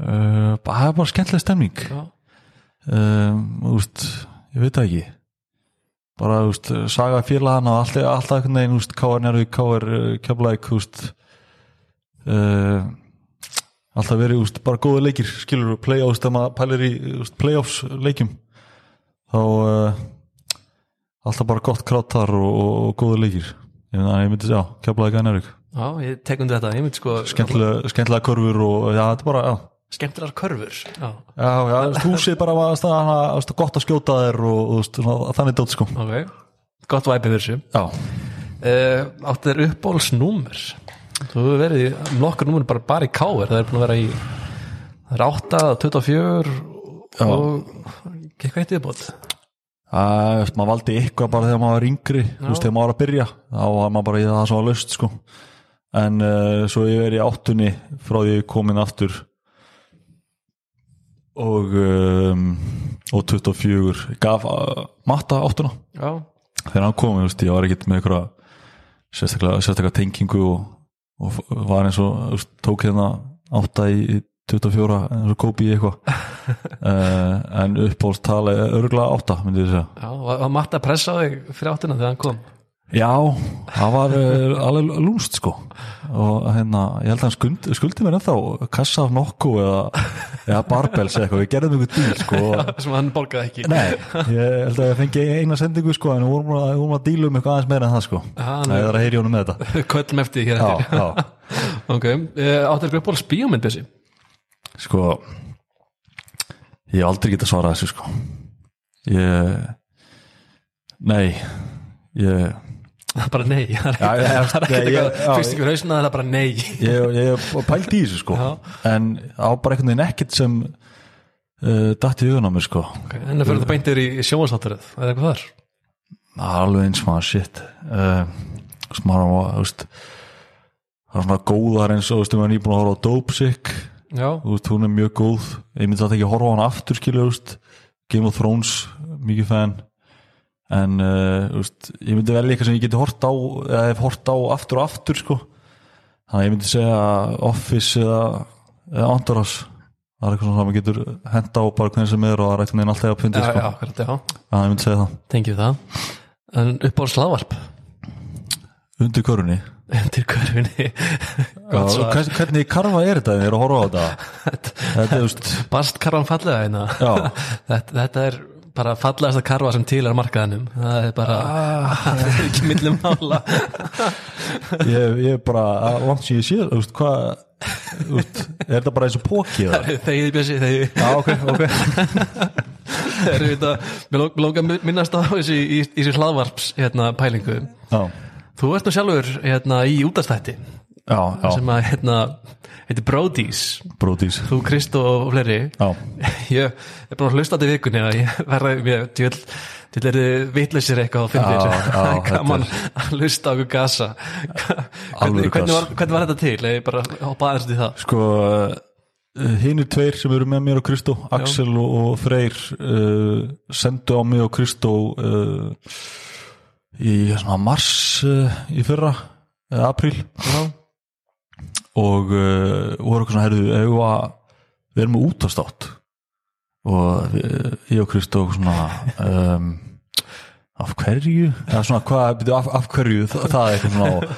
Speaker 2: uh, bara- það er bara skemmtileg stemning
Speaker 1: Já,
Speaker 2: um, úst, ég veit það ekki bara úst, saga félagana og alltaf, alltaf einhvern veginn úst, KR Njárvík, KR Keflæk úst, uh, alltaf verið úst, bara góða leikir, skilur við playoffs þegar maður pælir í úst, playoffs leikjum þá uh, alltaf bara gott krátt þar og, og, og góða leikir ég, meina, ég myndi segja, Keflæk að Njárvík
Speaker 1: já ég tekum þetta Ég mynd sko
Speaker 2: skemmtilega, skemmtilega körfur og já, þetta er bara, já
Speaker 1: skemmtilegar körfur Já,
Speaker 2: Já, já, þú veist, húsið bara var að staða hana, þú veist, gott að skjóta þér og, og þú veist, svona, þannig dótt sko.
Speaker 1: ok Gott væpið fyrir þessu
Speaker 2: Já.
Speaker 1: uh, áttu þér uppbólsnúmer þú hefur verið í nokkur númer bara, bara í káir, það er búin að vera í það er 8, 24 og eitthvað eitt viðbót
Speaker 2: Það, þú veist, maður valdi eitthvað bara þegar maður var yngri, þú veist, þegar maður var að byrja, þá var maður bara í það sem var löst sko. En uh, svo ég verið í áttunni frá því ég kom inn aftur og, um, og 24, gaf uh, matta áttuna.
Speaker 1: já,
Speaker 2: þegar hann kom, þú veist, ég var ekkert með einhverja sérstaklega, sérstaklega tengingu og, og var eins og þú veist, tók hérna átta í í 24 eins og kópi í eitthvað uh, en uppbólstala örgulega átta, myndi ég segja
Speaker 1: já, var, var matta að pressa á þig fyrir áttuna þegar hann kom
Speaker 2: Já, það var uh, alveg lúmst sko og hérna, ég held að hann skuld, skuldi mér ennþá kassa af nokku eða, eða barbels eða eitthvað, við gerðum einhver dýl sko og
Speaker 1: sem hann borgaði ekki
Speaker 2: Nei, ég held að ég fengi eina sendingu sko en við vorum að, við vorum að díla um eitthvað aðeins meira en það sko
Speaker 1: Ah,
Speaker 2: Það er að heyri honum með þetta
Speaker 1: köllum eftir því hér
Speaker 2: já,
Speaker 1: eftir
Speaker 2: já,
Speaker 1: ok, uh, áttu þér uppbóls bíómynd Bessi
Speaker 2: sko ég hef aldrei geta svarað þessu sko ég nei ég
Speaker 1: bara nei, það er
Speaker 2: Já,
Speaker 1: ekki
Speaker 2: ég-
Speaker 1: það er ekki
Speaker 2: ég-
Speaker 1: eitthvað,
Speaker 2: ég- já,
Speaker 1: fyrst ykkur hausna það er bara nei
Speaker 2: ég, ég hef pælt í þessu sko
Speaker 1: Já.
Speaker 2: en á bara einhvern veginn ekkert sem uh, datt í hugun á mér sko
Speaker 1: okay, en það fyrir það beintir í sjónvarsáttaröð það er eitthvað þar
Speaker 2: Það er alveg eins maður shit uh, smara maður þú veist, það er svona góðar eins og þú veist, ég var nýbúin að horfa á Dope Sick
Speaker 1: já,
Speaker 2: þú veist, hún er mjög góð ég myndi þetta ekki að horfa á hann aftur skilja, þú veist Game of Thrones, mikið fan en, uh, þú veist ég myndi velja eitthvað sem ég geti hort á eða hef hort á aftur og aftur, sko þannig að ég myndi segja Office eða, eða Entourage það er eitthvað svona sem maður getur henda á bara hvernig sem er og það er eitthvað neginn alltaf að pyndi,
Speaker 1: já,
Speaker 2: sko
Speaker 1: já, akkurat, já
Speaker 2: þannig að ég myndi segja það
Speaker 1: tengjum við það en upp á slavarp
Speaker 2: undir körunni
Speaker 1: undir körfinni
Speaker 2: Já, hvers- hvernig karfa er þetta þegar þið eru að horfa á þetta þetta er veist
Speaker 1: Bast karfan fallega hérna
Speaker 2: Já.
Speaker 1: þetta, þetta er bara fallegasta karfa sem til er á markaðanum það er bara, það er ekki millum mála
Speaker 2: ég, ég er bara að langt sem ég sé þú veist hvað þú veist, er þetta bara eins og póki eða?
Speaker 1: þegiði Bjössi, þegiði
Speaker 2: já ok, ok
Speaker 1: Það eru þetta, mér ló- lókar að minnast á þessi, í, í þessi hlaðvarps hérna, pælingu.
Speaker 2: já,
Speaker 1: Þú ert nú sjálfur hérna, í útastætti
Speaker 2: já, já,
Speaker 1: sem að hérna, heitir Brody's,
Speaker 2: bróðís
Speaker 1: þú Kristó og fleiri.
Speaker 2: já,
Speaker 1: Ég er búin að hlusta þetta í vikunni að ég verða, ég til, til eru vitlausir eitthvað á
Speaker 2: Já,
Speaker 1: fyndir.
Speaker 2: já, þetta er-
Speaker 1: Gaman að hlusta á okkur gasa.
Speaker 2: Alvöru
Speaker 1: Hvernig, hvernig,
Speaker 2: gas.
Speaker 1: var, hvernig var þetta til? Ég bara hoppa aðeins til það.
Speaker 2: sko hinn er tveir sem eru með mér og Kristó Axel og, og Freyr uh, sendu á mig og Kristó uh, í svona, mars uh, í fyrra uh, apríl
Speaker 1: Já,
Speaker 2: og uh, voru eitthvað svona herðu eigum við að við erum með útastátt og við, ég og Kristó svona um, af hverju eða svona hvað, byrju, af, af hverju það, það er eitthvað svona og,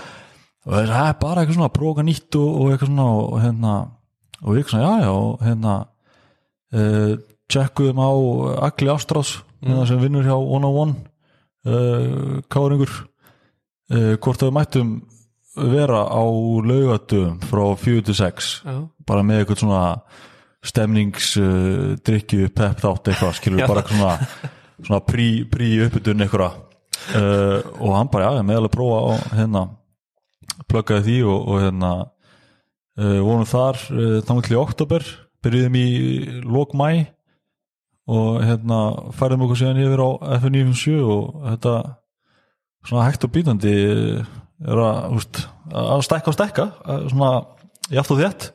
Speaker 2: og það er bara eitthvað svona að prófa eitthvað nýtt og, og eitthvað svona og, og hérna og við eitthvað svona já já og hérna uh, tjekkuðum á Agli Ástrás hérna, sem vinnur hjá One on One uh, Káringur uh, hvort að við mættum vera á laugatum frá 4 til 6
Speaker 1: já.
Speaker 2: bara með eitthvað svona stemnings uh, drikju, pep þátt eitthvað skilur
Speaker 1: Já.
Speaker 2: bara eitthvað svona, svona prí, prí uppbytun eitthvað uh, og hann bara, já, ég meðalega prófa og hérna, pluggaði því og, og hérna uh, vorum þar uh, þannig til í oktober byrjuðum í lok mæ og hérna færðum okkur síðan yfir á F957 og þetta svona hægt og býtandi eh, er að, úst, að stækka og stækka eh, svona jafnt og þétt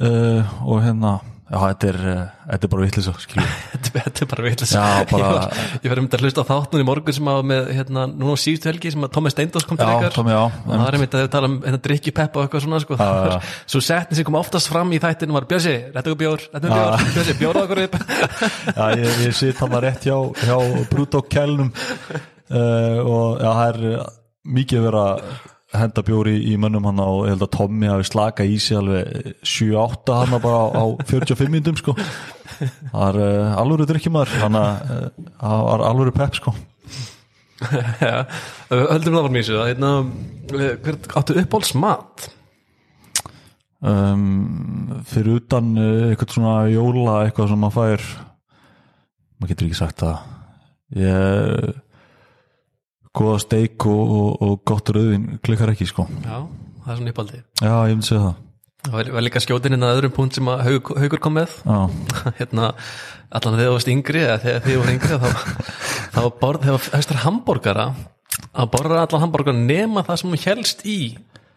Speaker 2: uh, og hérna já, þetta er, eh, þetta er bara vitlisa skilur
Speaker 1: Þetta þetta er bara vitlis
Speaker 2: Já, bara-
Speaker 1: Ég var, ég var um þetta að hlusta á þáttnum í morgun sem að með, hérna, núna á síðustu helgi sem að Thomas Steindós kom til ykkar
Speaker 2: Tommy, já,
Speaker 1: og það var einmitt að þau tala um hérna, drikki peppa og eitthvað svona sko.
Speaker 2: já, já.
Speaker 1: svo setni sem kom oftast fram í þættinu var Björsi, réttu okkur bjór, réttu okkur bjór Björsi, bjóra okkur upp
Speaker 2: já, ég, ég sit hann að rétt hjá, hjá Brúdó Kjælnum uh, og já, það er eh, mikið verið að henda bjóri í mönnum hann og ég held að Tommy hafi slaka í sig alveg eh, 7-8 hann bara á, á 45 minnum sko það er uh, alvöru drikkjumar hann að eh, það var alvöru pep sko
Speaker 1: Já, höldum það var mísu hérna, eh, hver, áttu uppáhalds mat
Speaker 2: um, fyrir utan uh, eitthvað svona jóla eitthvað sem maður fær maður getur ekki sagt það ég góða steik og, og, og gott rauðin klikkar ekki sko
Speaker 1: Já, það er svona uppáldi
Speaker 2: já ég myndi segja það
Speaker 1: Það var- var líka skjótin inn að öðrum punkt sem að Hauk- Haukur kom með
Speaker 2: já,
Speaker 1: hérna, allan þegar þú varst yngri eða þegar þið voru yngri þá, þá borð, þegar höstur hambúrgara að borða allan hambúrgara nema það sem hún helst í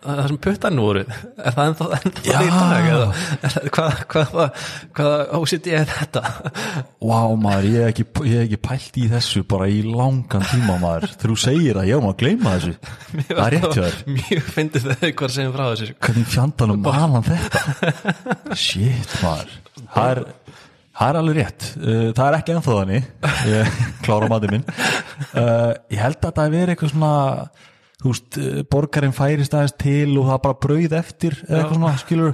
Speaker 1: það sem puttan voru er það ennþá, ennþá
Speaker 2: Já.
Speaker 1: það í dag eða er það- hvað hvað, hvað, hvað ósiti er þetta
Speaker 2: wow maður ég hef ekki, ég hef ekki pælt í þessu bara í langan tíma maður þegar þú segir það, já maður gleyma þessu það er rétt hjá þér
Speaker 1: mjög fyndið þegar eitthvað segir frá þessu sko.
Speaker 2: hvernig fjandanum man hann þetta shit maður það er, það er alveg rétt Uh, það er ekki ennþá þannig ég klára matið minn Uh, ég held að það veri eitthvað svona þú veist, uh, borgarinn færist aðeins til og það bara brauð eftir eða eitthvað svona skilur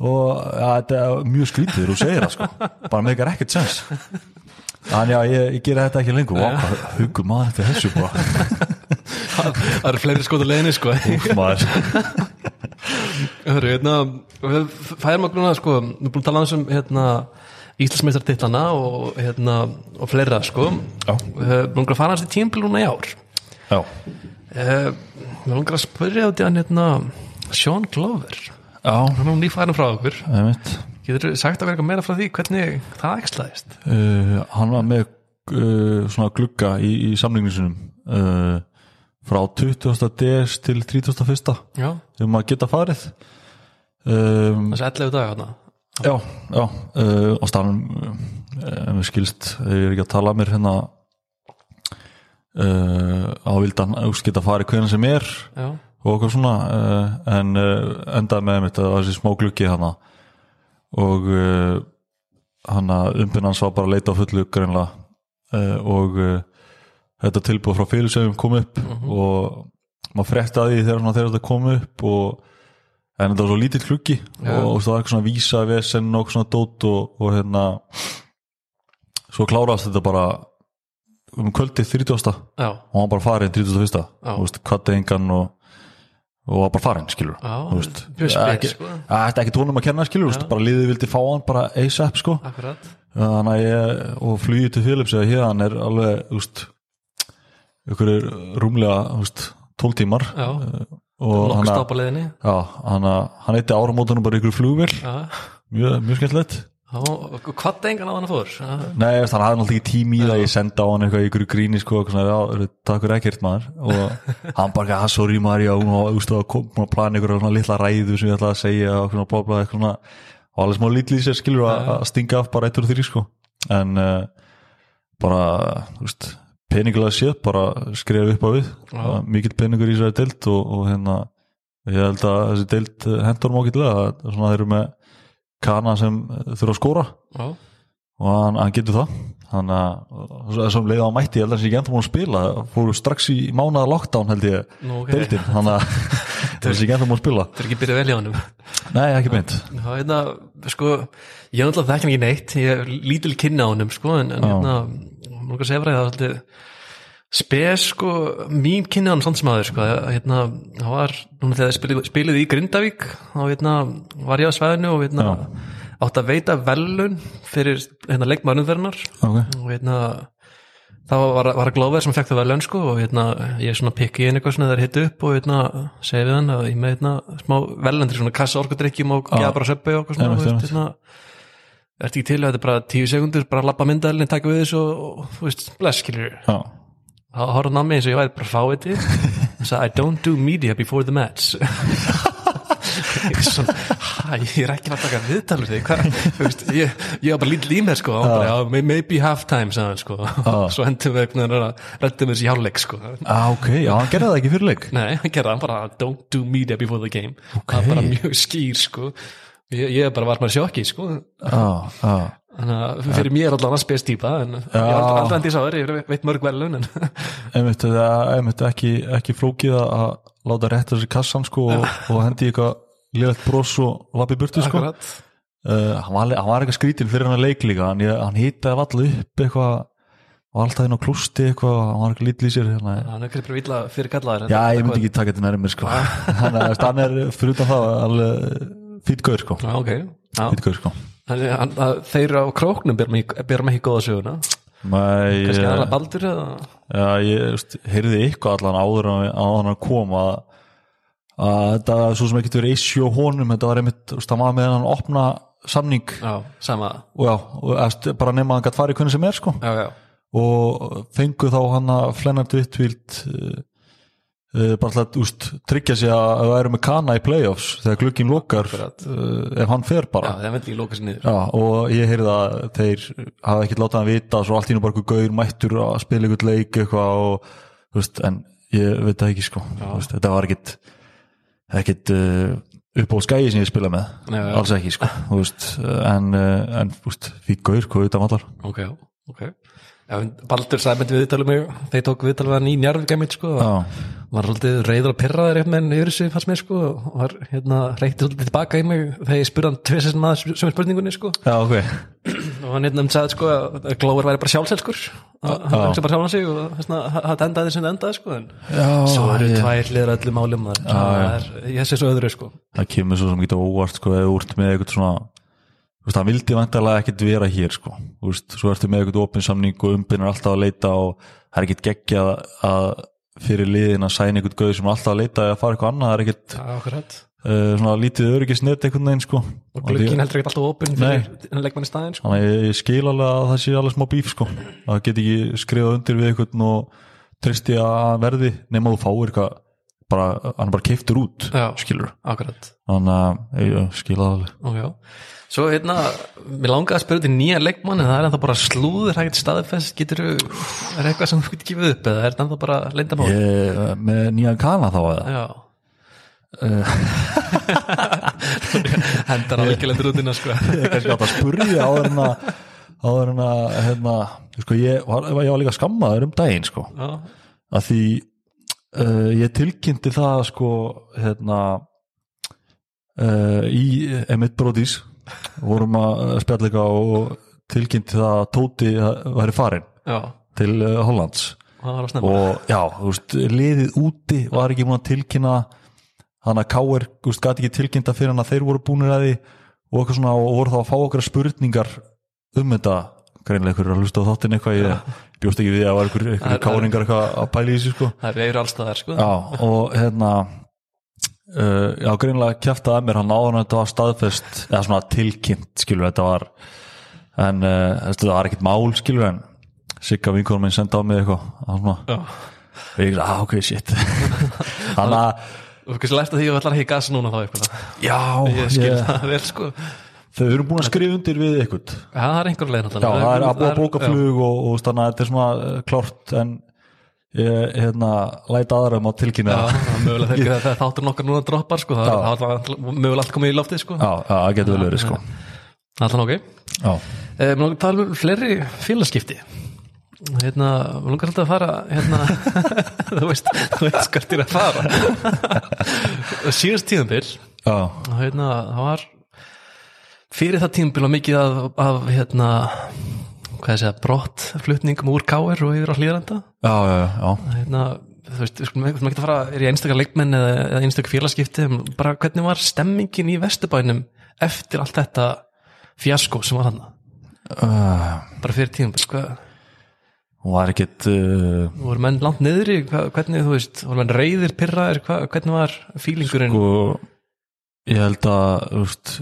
Speaker 2: og ja, þetta er mjög skrítið þegar þú segir það sko bara meikar ekkert sens þannig að ég, ég gera þetta ekki lengur Vá, hvað hugur maður eftir þessu bara
Speaker 1: það, það eru fleiri skotu leðinni sko
Speaker 2: Úff, maður
Speaker 1: Hörru, hérna, við færum okkur núna, sko, við erum búin að tala aðeins um, hérna, Íslandsmeistartitlana og, hérna, og fleira, sko.
Speaker 2: Já.
Speaker 1: Við erum að fara aðeins í tímpil núna í ár.
Speaker 2: já,
Speaker 1: Eh, Við erum að spyrja út í hann, hérna, Sean Glover.
Speaker 2: já,
Speaker 1: Hann er nú nýfærin frá okkur.
Speaker 2: það er mitt
Speaker 1: Getur þú sagt okkur eitthvað meira frá því hvernig það ekslaðist?
Speaker 2: uh, hann var með uh, svona glugga í, í samlingnisunum uh, frá 20. DS til 31.
Speaker 1: Já.
Speaker 2: sem að geta farið um,
Speaker 1: Þessi 11 dag, hérna.
Speaker 2: já, já uh, á stafnum uh, um, skilst, ef ég er ekki að tala mér hérna uh, á vildan geta farið hvernig sem er
Speaker 1: Já.
Speaker 2: og okkur svona uh, en uh, endaði með mitt að það var þessi smá gluggi hana og uh, hana umbyrnans var bara að leita á fullu greinlega uh, og uh, Eh, þetta tilbúð frá félagsöfum kom upp og maður frektaði því þegar, svona, þegar þetta kom upp og en þetta var svo lítill klukki
Speaker 1: Já.
Speaker 2: og, og það var eitthvað svona vísa vesen og eitthvað svona dót og, og hérna svo klárast þetta bara um kvöldið 30.
Speaker 1: já,
Speaker 2: og hann bara farinn 31.
Speaker 1: Já.
Speaker 2: Þú veist, kvatti engan og, og var bara farinn skilur
Speaker 1: já,
Speaker 2: Þú veist,
Speaker 1: mjög spil,
Speaker 2: ekki-
Speaker 1: sko
Speaker 2: Það er ekki tónum að kenna skilur, þú veist, bara liðið vildi fá hann bara ASAP sko
Speaker 1: akkurat,
Speaker 2: þannig að ég og flugið til Philips eða hérðan er alveg þú veist, ykkur er rúmlega þú veist, 12 tímar
Speaker 1: já,
Speaker 2: og
Speaker 1: nokkuð
Speaker 2: hann að
Speaker 1: stápa leiðinni
Speaker 2: já, hann, að- hann eitti áramótunum bara ykkur flugvél
Speaker 1: já,
Speaker 2: mjög, mjög skemmtilegt
Speaker 1: já, og hvað engan á hann fór já,
Speaker 2: Nei, þannig að hann hafði náttúrulega ekki tími í það ég senda á hann eitthvað í ykkur gríni sko og svona, já, eru- takk fyrir ekkert maður og hann bara, að sorry maður, já, hún var þú veist, að koma að plana ykkur svona litla ræðu sem ég ætlaði að segja og svona blá blá eitthvað svona og alveg smá lítið í sér skilur að að stinga af bara eittur og þrý sko en uh, bara, þú veist peningulega séð, bara skrifa upp á við
Speaker 1: Já.
Speaker 2: Það er mikill peningur í þessari deild og, og hérna, ég held að þessi deild eh, hendur mókillega, svona þeir eru með kana sem eh, þurfa að skóra
Speaker 1: já,
Speaker 2: og hann, hann uh, getur það þannig að þessum leiða á mætti ég held að um hann sé ekki ennþá múin að spila fóru strax í mánaða lockdown held ég
Speaker 1: nú ok þetta
Speaker 2: deildin, þannig að hann sé ekki ennþá múin að spila
Speaker 1: er ekki byrjað vel hjá honum
Speaker 2: nei, ekki beint
Speaker 1: já, hérna, sko ég náttúrulega þekki hann ekki neitt, ég er lítil kynna á honum, sko, en, en
Speaker 2: Já.
Speaker 1: hérna mér langar að segja frá því að það er svolítið spes, sko, mín kynna hann samt sem aður, sko, að, hérna hann var, núna þegar spilið, spilið í Grindavík þá, hérna, var ég á svæðinu og, hérna, átt að veita velun fyrir, hérna, leikmannumferðinar
Speaker 2: okay.
Speaker 1: og hérna þá var, var að glófið sem fekk það velun sko og hérna ég svona pikki inn eitthvað svona þegar hitt upp og hérna segi við hann að ég með hérna smá velendri svona kassa orkudrykkjum og gefa bara söpbi og eitthvað svona
Speaker 2: Einmitt,
Speaker 1: þú veist,
Speaker 2: einmitt.
Speaker 1: hérna ertu ekki til að þetta er bara tíu sekundur bara lappa myndalinn, taka við þessu og, og þú veist, bless skilur
Speaker 2: já,
Speaker 1: þá horfði hann á mig eins og ég væri bara fáiði og sagði I don't do media before the match ég er svona hæ, ég er ekki að taka viðtalur þig hvað, þú veist, ég, ég var bara lítið í mér sko, og hann bara, já, may- maybe half time sagði hann sko, svo hendum við einhvern veginn að rættum við þessi hjáleik sko
Speaker 2: ah, ok, já, hann gerði það ekki fyrir leik
Speaker 1: nei, hann gerði hann bara, don't do media before the game
Speaker 2: Ok.
Speaker 1: það er bara mjög skýr sko ég, ég bara var bara sjokki sko
Speaker 2: já, já,
Speaker 1: þannig að fyrir mér allan að spes típa en ég var aldrei- aldrei andis á þér, ég veit mörg velun en
Speaker 2: einmitt, það- einmitt ekki, ekki flókið að- að láta rétt þessi kassan sko og, og hendi í eitthvað liðvægt bros og lappi burtu sko uh,
Speaker 1: akkurat
Speaker 2: hann, var, hann var eitthvað skrítin fyrir hann að leik líka hann, ég- hann hýtaði allu upp eitthvað og alltaf inn á klústi eitthvað hann var eitthvað lítið í sér hérna,
Speaker 1: Hann er kannski bara illa fyrir kallaðar
Speaker 2: Já, ég myndi ekki taka þetta nærmir sko
Speaker 1: Ah.
Speaker 2: Þannig að Stan er fyrir utan það alveg fýtt gaur sko
Speaker 1: Já, ok Já.
Speaker 2: Fýtt gaur sko
Speaker 1: Þannig að- hann- að Þeir á króknum berum ekki, berum ekki góða söguna
Speaker 2: Mæ,
Speaker 1: Kannski aðra
Speaker 2: ég,
Speaker 1: baldur eða
Speaker 2: já, ég veist, heyrði eitthvað allan áður en áður en að koma að að þetta svo sem ekki verið issue á honum þetta var einmitt, þú veist, það var með hann opna samning
Speaker 1: Já, sama
Speaker 2: og já, og, efst, bara nema að hann gætt farið hvernig sem er sko
Speaker 1: Já, já
Speaker 2: og fengu þá hann að Flennard Vittvíld uh, uh, bara alltaf úst, tryggja sig að að við erum með Kana í playoffs þegar glukkin lokar uh,
Speaker 1: Akkurat.
Speaker 2: ef hann fer
Speaker 1: Já,
Speaker 2: bara
Speaker 1: það myndi ekki lóka sér niður
Speaker 2: Já, og ég heyrði að þeir hafa ekkert látað hann vita svo allt í nú bara eitthvað gaur mættur að spila eitthvað leik eitthvað og þú veist, en ég veit það ekki sko Þú veist, þetta var ekkit ekkit uh, upp á skæði sem ég spila með
Speaker 1: Nei, já.
Speaker 2: alls ekki sko þú veist, en, uh, en þú veist, fík gaur hvað utan allar
Speaker 1: Ok, já, ok Já, en Baldur sagði myndi við viðtalið mig Þeir tók viðtalið við hann í njárvíkæmið sko
Speaker 2: Já,
Speaker 1: Var svolítið reyður að pirra þeir eitthvað en yfir þessu fannst mér sko og Var hérna reykti svolítið tilbaka í mig Þegar ég spurði hann tvisið sem að sem spurningunni sko
Speaker 2: já ok
Speaker 1: og hann hérna um sagði sko að Glóður væri bara sjálfselskur að hann hugsa bara sjálfan sig og hérna, þessna, það endaði þessum það endaði sko en
Speaker 2: Já,
Speaker 1: svo eru tvær hliðar öllum málum maður. Það er- ég sé svo öðru sko
Speaker 2: það kemur svo sem getur óvart sko, eða þú ert með eitthvað svona þú veist, hann vildi vantarlega ekkert vera hér sko. Þú veist, svo ertu með eitthvað opinsamning og umbyrnir alltaf að leita og það er ekkert geggjað að fyrir liðin að sæna eitthvað gauð sem er alltaf að leita að fara eitthvað annað, það er ekkert
Speaker 1: Já, akkurat
Speaker 2: uh, svona lítið öryggisnett eitthvað neginn sko.
Speaker 1: og
Speaker 2: Þannig
Speaker 1: glukkin
Speaker 2: að ég-
Speaker 1: heldur ekki alltaf opinn fyrir leikmann í staðinn sko
Speaker 2: þannig að ég, ég skil alveg að það sé alveg smá bíf sko. það get ekki skrifað undir við eitthvað og tristi að hann verði nema þú fáir eitthvað bara, hann er bara keiftur út
Speaker 1: Já.
Speaker 2: skilur,
Speaker 1: akkurat
Speaker 2: þannig að ég, ég skil það alveg
Speaker 1: og já svo hérna mér langaði að spyrja til nýja leikmann en það er ennþá bara slúður hægt staðfest getur er eitthvað sem þú getur gefið upp eða er þetta ennþá bara leyndamál
Speaker 2: Ég, með nýjan kana þá eða?
Speaker 1: já
Speaker 2: Eh.
Speaker 1: hendar á virkilendur út innan sko
Speaker 2: Ég er kannski átt að spurja áður en að áður en að hérna, sko, ég, var, ég var líka skammaður um daginn sko,
Speaker 1: já,
Speaker 2: að því uh, ég tilkynnti það sko hérna uh, í Emmett Brodís vorum að spjalla eitthvað og tilkynnti það að Tóti uh, væri farinn
Speaker 1: já,
Speaker 2: til uh, Hollands
Speaker 1: það var að snemma
Speaker 2: og já, þú veist, liðið úti var ekki múin að tilkynna þannig að K.R. þú veist, gæti ekki tilkynnta fyrir hann að þeir voru búnir að því og eitthvað svona og voru þá að fá okkur spurningar um þetta greinlega ykkur er að hlusta á þáttinn eitthvað ég bjóst ekki við að var ykkur,
Speaker 1: Það
Speaker 2: ykkur
Speaker 1: er-
Speaker 2: káringar eitthvað að pæla í þessu sko
Speaker 1: það er veifur allstaðar sko
Speaker 2: já, og hérna uh, já, greinlega kjæftaði að mér hann áður en þetta var staðfest eða svona tilkynnt skilur þetta var en uh, þetta var ekkert mál skilur en Sigga vinkonum minn senda á mig eitthvað það var svona
Speaker 1: Já.
Speaker 2: og ég er að, ok, shit þannig að,
Speaker 1: og kannski lært að því að allar ekki gasa núna þá eitthvað
Speaker 2: já
Speaker 1: ég skil
Speaker 2: ég-
Speaker 1: það vel sko já,
Speaker 2: þau eru búin að skrifa undir við eitthvað já,
Speaker 1: það er einhver leið náttúrulega
Speaker 2: það er að búa að
Speaker 1: er-
Speaker 2: bóka
Speaker 1: já.
Speaker 2: flug og, og þannig að þetta er svona eh, klárt en ég, hérna, læta aðra um að
Speaker 1: Já,
Speaker 2: tilkynna það.
Speaker 1: það er mögulega þegar það þáttur nokkar núna droppar sko, það er það er allavega mögulega allt komið í loftið sko,
Speaker 2: já, já, það getur vel verið sko
Speaker 1: allan ok
Speaker 2: já,
Speaker 1: Eh, Mér langar að tala um fleiri félagskipti Hérna, mér langar alltaf að fara hérna, þú veist þú veist hvert ég er að fara síðast tíðanbyrl
Speaker 2: já
Speaker 1: hérna, það var fyrir það tíðanbyrl var mikið af, af hérna hvað ég segja, brott flutningum úr káir og yfir á hlýranda
Speaker 2: já, já, já,
Speaker 1: hérna, þú veist, sko, maður ekki að fara er ég einstakar leikmenn eða, eða einstakar félagskipti bara hvernig var stemmingin í Vesturbænum eftir allt þetta fjasko sem var hann
Speaker 2: já.
Speaker 1: bara fyrir tíðanbyrl, hvað
Speaker 2: Uh, hún var ekkit uh,
Speaker 1: voru menn langt niðri, hva, hvernig þú veist voru menn reyðir, pirraðir, hva, hvernig var fílingurinn
Speaker 2: sko, ég held að þú veist,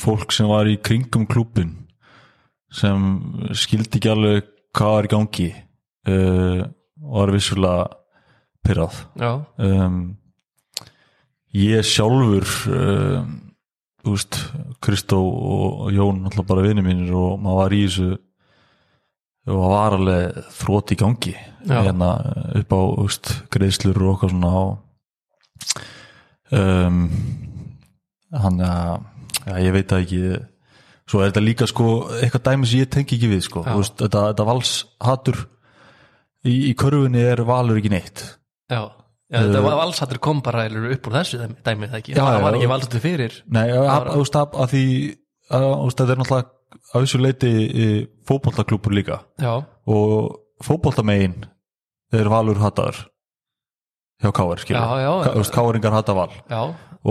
Speaker 2: fólk sem var í kringum klúbin sem skildi ekki alveg hvað var í gangi uh, var vissulega pyrrað
Speaker 1: já,
Speaker 2: um, ég sjálfur um, þú veist, Kristó og Jón alltaf bara vinni mínir og maður var í þessu og það var alveg þrótt í gangi
Speaker 1: Já.
Speaker 2: hérna upp á þú veist, greiðslur og okkar svona á um, hann að já, ég veit það ekki svo er þetta líka sko eitthvað dæmi sem ég tengi ekki við sko,
Speaker 1: Já.
Speaker 2: Þú veist, þetta, þetta valshatur í, í körfunni er valur ekki neitt
Speaker 1: já, já þetta var valsattur kom bara elur, upp úr þessu dæmi, dæmi það ekki,
Speaker 2: Eh. Já,
Speaker 1: það var
Speaker 2: já.
Speaker 1: ekki valsattur fyrir
Speaker 2: Nei, að, að,
Speaker 1: var-
Speaker 2: að, að, að því að, að, að þetta er náttúrulega að þessu leiti fótboltaklúpur líka
Speaker 1: já,
Speaker 2: og fótboltamegin er valur hataður hjá Káar,
Speaker 1: Já, já.
Speaker 2: skilur Káaringar hata val
Speaker 1: já,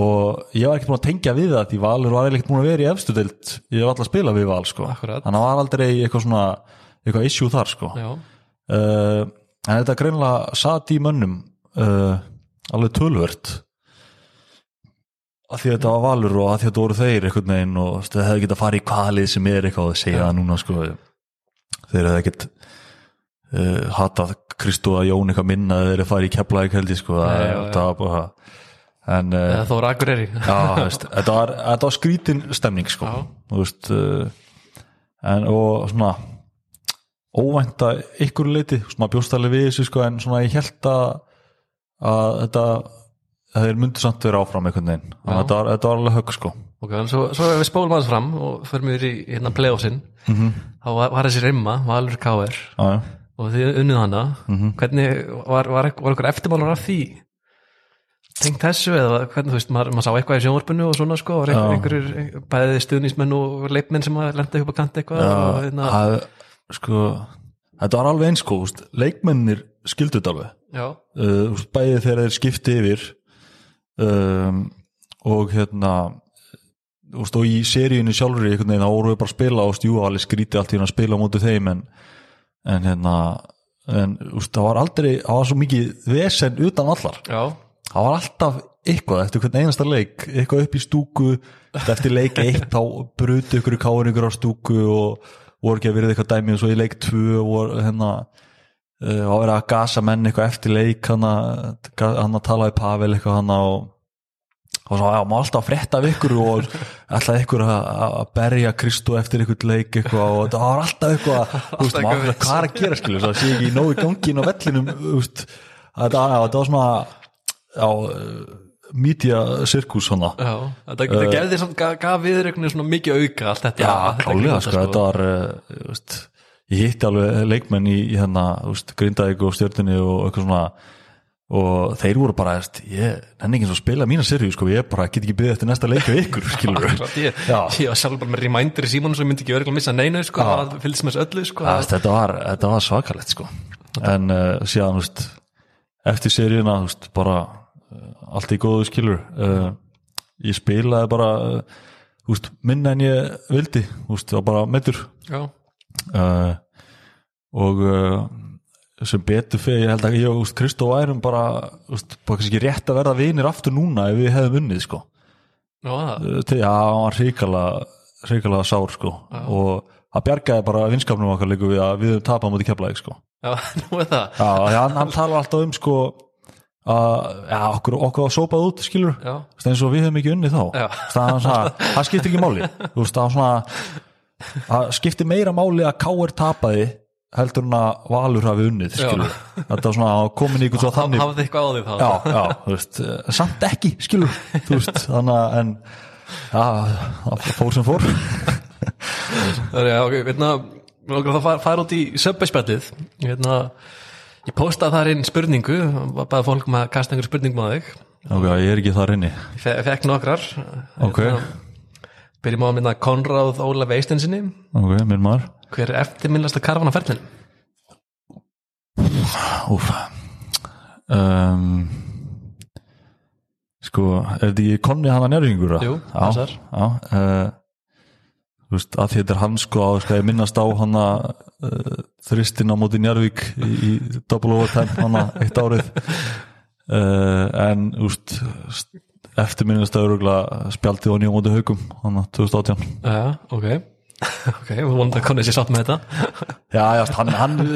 Speaker 2: og ég var ekkert búin að tengja við það því valur var ekkert búin að vera í efstu deild ég hef alltaf spilað við val, sko
Speaker 1: Akkurat.
Speaker 2: þannig að var aldrei eitthvað svona eitthvað issue þar, sko
Speaker 1: já
Speaker 2: uh, en þetta greinlega sat í mönnum uh, alveg tölvört að því að þetta var valur og að því að þetta voru þeir einhvern veginn og þú veist, þeir hefði getað að fara í hvaða lið sem er eitthvað og segja það núna sko þeir hefði ekkert uh, hatað Kristó að Jón eitthvað minna eða þeir hefði farið í keflaði kveldi sko það
Speaker 1: Nei, já,
Speaker 2: er- það var bara en uh,
Speaker 1: eða þó var Akureyri
Speaker 2: Já, þú veist, þetta var, þetta var skrítin stemning sko,
Speaker 1: Já.
Speaker 2: þú veist uh, en og svona óvænt að ykkur leiti svona bjóstæli við þessu sko en svona ég held að, að þetta að þeir myndu samt vera áfram einhvern veginn, þannig að þetta var, þetta var alveg högg sko
Speaker 1: ok, en svo, svo ef við spólum aðeins fram og förum við í hérna playoffsinn
Speaker 2: Mhm.
Speaker 1: þá var, var þessi rimma, Valur K.R.
Speaker 2: Já, já.
Speaker 1: og þið unnið hana
Speaker 2: Mhm.
Speaker 1: hvernig, var, var, ekk- var eitthvað eftirmálur af því tengt þessu eða hvernig, þú veist, maður, maður sá eitthvað í sjónvarpinu og svona sko, var einhver, einhverjir bæði stuðnismenn og leipmenn sem maður lenda upp að kanta eitthvað og hérna,
Speaker 2: það, sko, þetta var alveg eins sko þú veist, leikmennir skildu þetta alveg
Speaker 1: já,
Speaker 2: uh, þú veist, bæði þegar þeir skipti yfir um, og hérna þú veist, og í seríunni sjálfur einhvern veginn þá voru við bara að spila og stjú alveg skríti allt í hérna að spila á móti þeim en, en hérna en þú veist, það var aldrei, það var svo mikið vesen utan allar,
Speaker 1: já,
Speaker 2: það var alltaf eitthvað eftir hvern einasta leik, eitthvað upp í stúku eftir leik eitt þá brutu ykkur káur ykkur á stúku og voru ekki að verið eitthvað dæmi og svo í leik tvö voru hérna uh, að vera að gasa menn eitthvað eftir leik hann að, hann að tala í Pavel eitthvað hann að og, og svo já, maður alltaf að frétta af ykkur og alltaf ykkur að, að berja Kristó eftir ykkur leik eitthvað og það var alltaf eitthvað, þú veist,
Speaker 1: Alltaf
Speaker 2: maður
Speaker 1: eitthvað
Speaker 2: fyrir hvað er að gera skilur, það sé ekki nógu í gangin á vellinum þú veist, þetta, já, þetta var svona já, media sirkus svona
Speaker 1: Já, þetta, þetta gerði samt, gaf, gaf viðreiknir svona mikið auka allt þetta
Speaker 2: Eh. Já,
Speaker 1: þetta
Speaker 2: klálega,
Speaker 1: kvikmynda,
Speaker 2: sko, þetta var uh, þú veist, ég hitti alveg leikmenn í, í hérna, þú veist, Grindavík og Stjörnunni og eitthvað svona og þeir voru bara, þú veist, ég nenni ekki eins og að spila mína serju, sko, ég bara get ekki byggðið eftir næsta leik við ykkur, skilur við
Speaker 1: Akkurat, ég,
Speaker 2: Já.
Speaker 1: ég var sjálf bara með reminder í símanum sem ég myndi ekki örgulega missa neina sko, það fylgst með þessu öllu sko,
Speaker 2: Æst, þetta, var, þetta var svakalegt, sko en uh, síðan, þú veist eftir seríuna, þú veist, bara uh, allt í góðu skilur uh, ég spilaði bara uh, þú veist, minna en ég vildi, þú veist, það var bara meður
Speaker 1: já,
Speaker 2: uh, og uh, sem betur fyrir ég held að ég og úst, Kristó værum bara, úst, bara kannski ekki rétt að verða vinir aftur núna ef við hefðum unnið sko.
Speaker 1: já, það
Speaker 2: Uh, til- já, hann var hrikalega hrikalega sár sko og það bjargaði bara vinskapnum okkar líka við að við höfum tapað mútið keflaði sko.
Speaker 1: já, nú er það
Speaker 2: já, já, hann, hann talar alltaf um sko að já, okkur, okkur var sópað út skilur
Speaker 1: já,
Speaker 2: Þú veist, eins og við hefum ekki unni þá
Speaker 1: Já.
Speaker 2: það, er svona, það skiptir ekki máli Þú veist, það, er svona, það skiptir meira máli að K.R. tapaði heldur en að Valur hafi unnið skilur. þetta er svona að komin í einhvern svo þannig
Speaker 1: hafði eitthvað á því þá
Speaker 2: já, já, þú veist, eh, samt ekki skilur, þú veist, þannig að en, já, það fór sem fór
Speaker 1: Það er, já, ok, hérna, við langar að fara, fara út í söpbæspjallið, hérna, ég postaði þar inn spurningu, var bara fólk um að kasta einhver spurningum á þig,
Speaker 2: ok, ég er ekki þar inni
Speaker 1: ég fe fekk nokkrar, Hérna,
Speaker 2: ok,
Speaker 1: byrjum á að minna Konráð Ólaf Eistinsinni,
Speaker 2: ok, minn maður
Speaker 1: hver er eftirminnlasta karfan á ferlinu?
Speaker 2: Úf um, Sko, er þetta ekki konni hann að njörfingur?
Speaker 1: Jú,
Speaker 2: já,
Speaker 1: þessar.
Speaker 2: já uh, Þú veist, að þetta er hann sko að skal ég minnast á hann að uh, þristin á móti njörvík í, í double overtime hann að eitt árið uh, en úst eftir minnast að örugla spjaldið á nýjum móti haugum hann að 2018
Speaker 1: Já, ok, ok, við vonum að konið sér sátt með þetta,
Speaker 2: Já, já, hann, hann eh,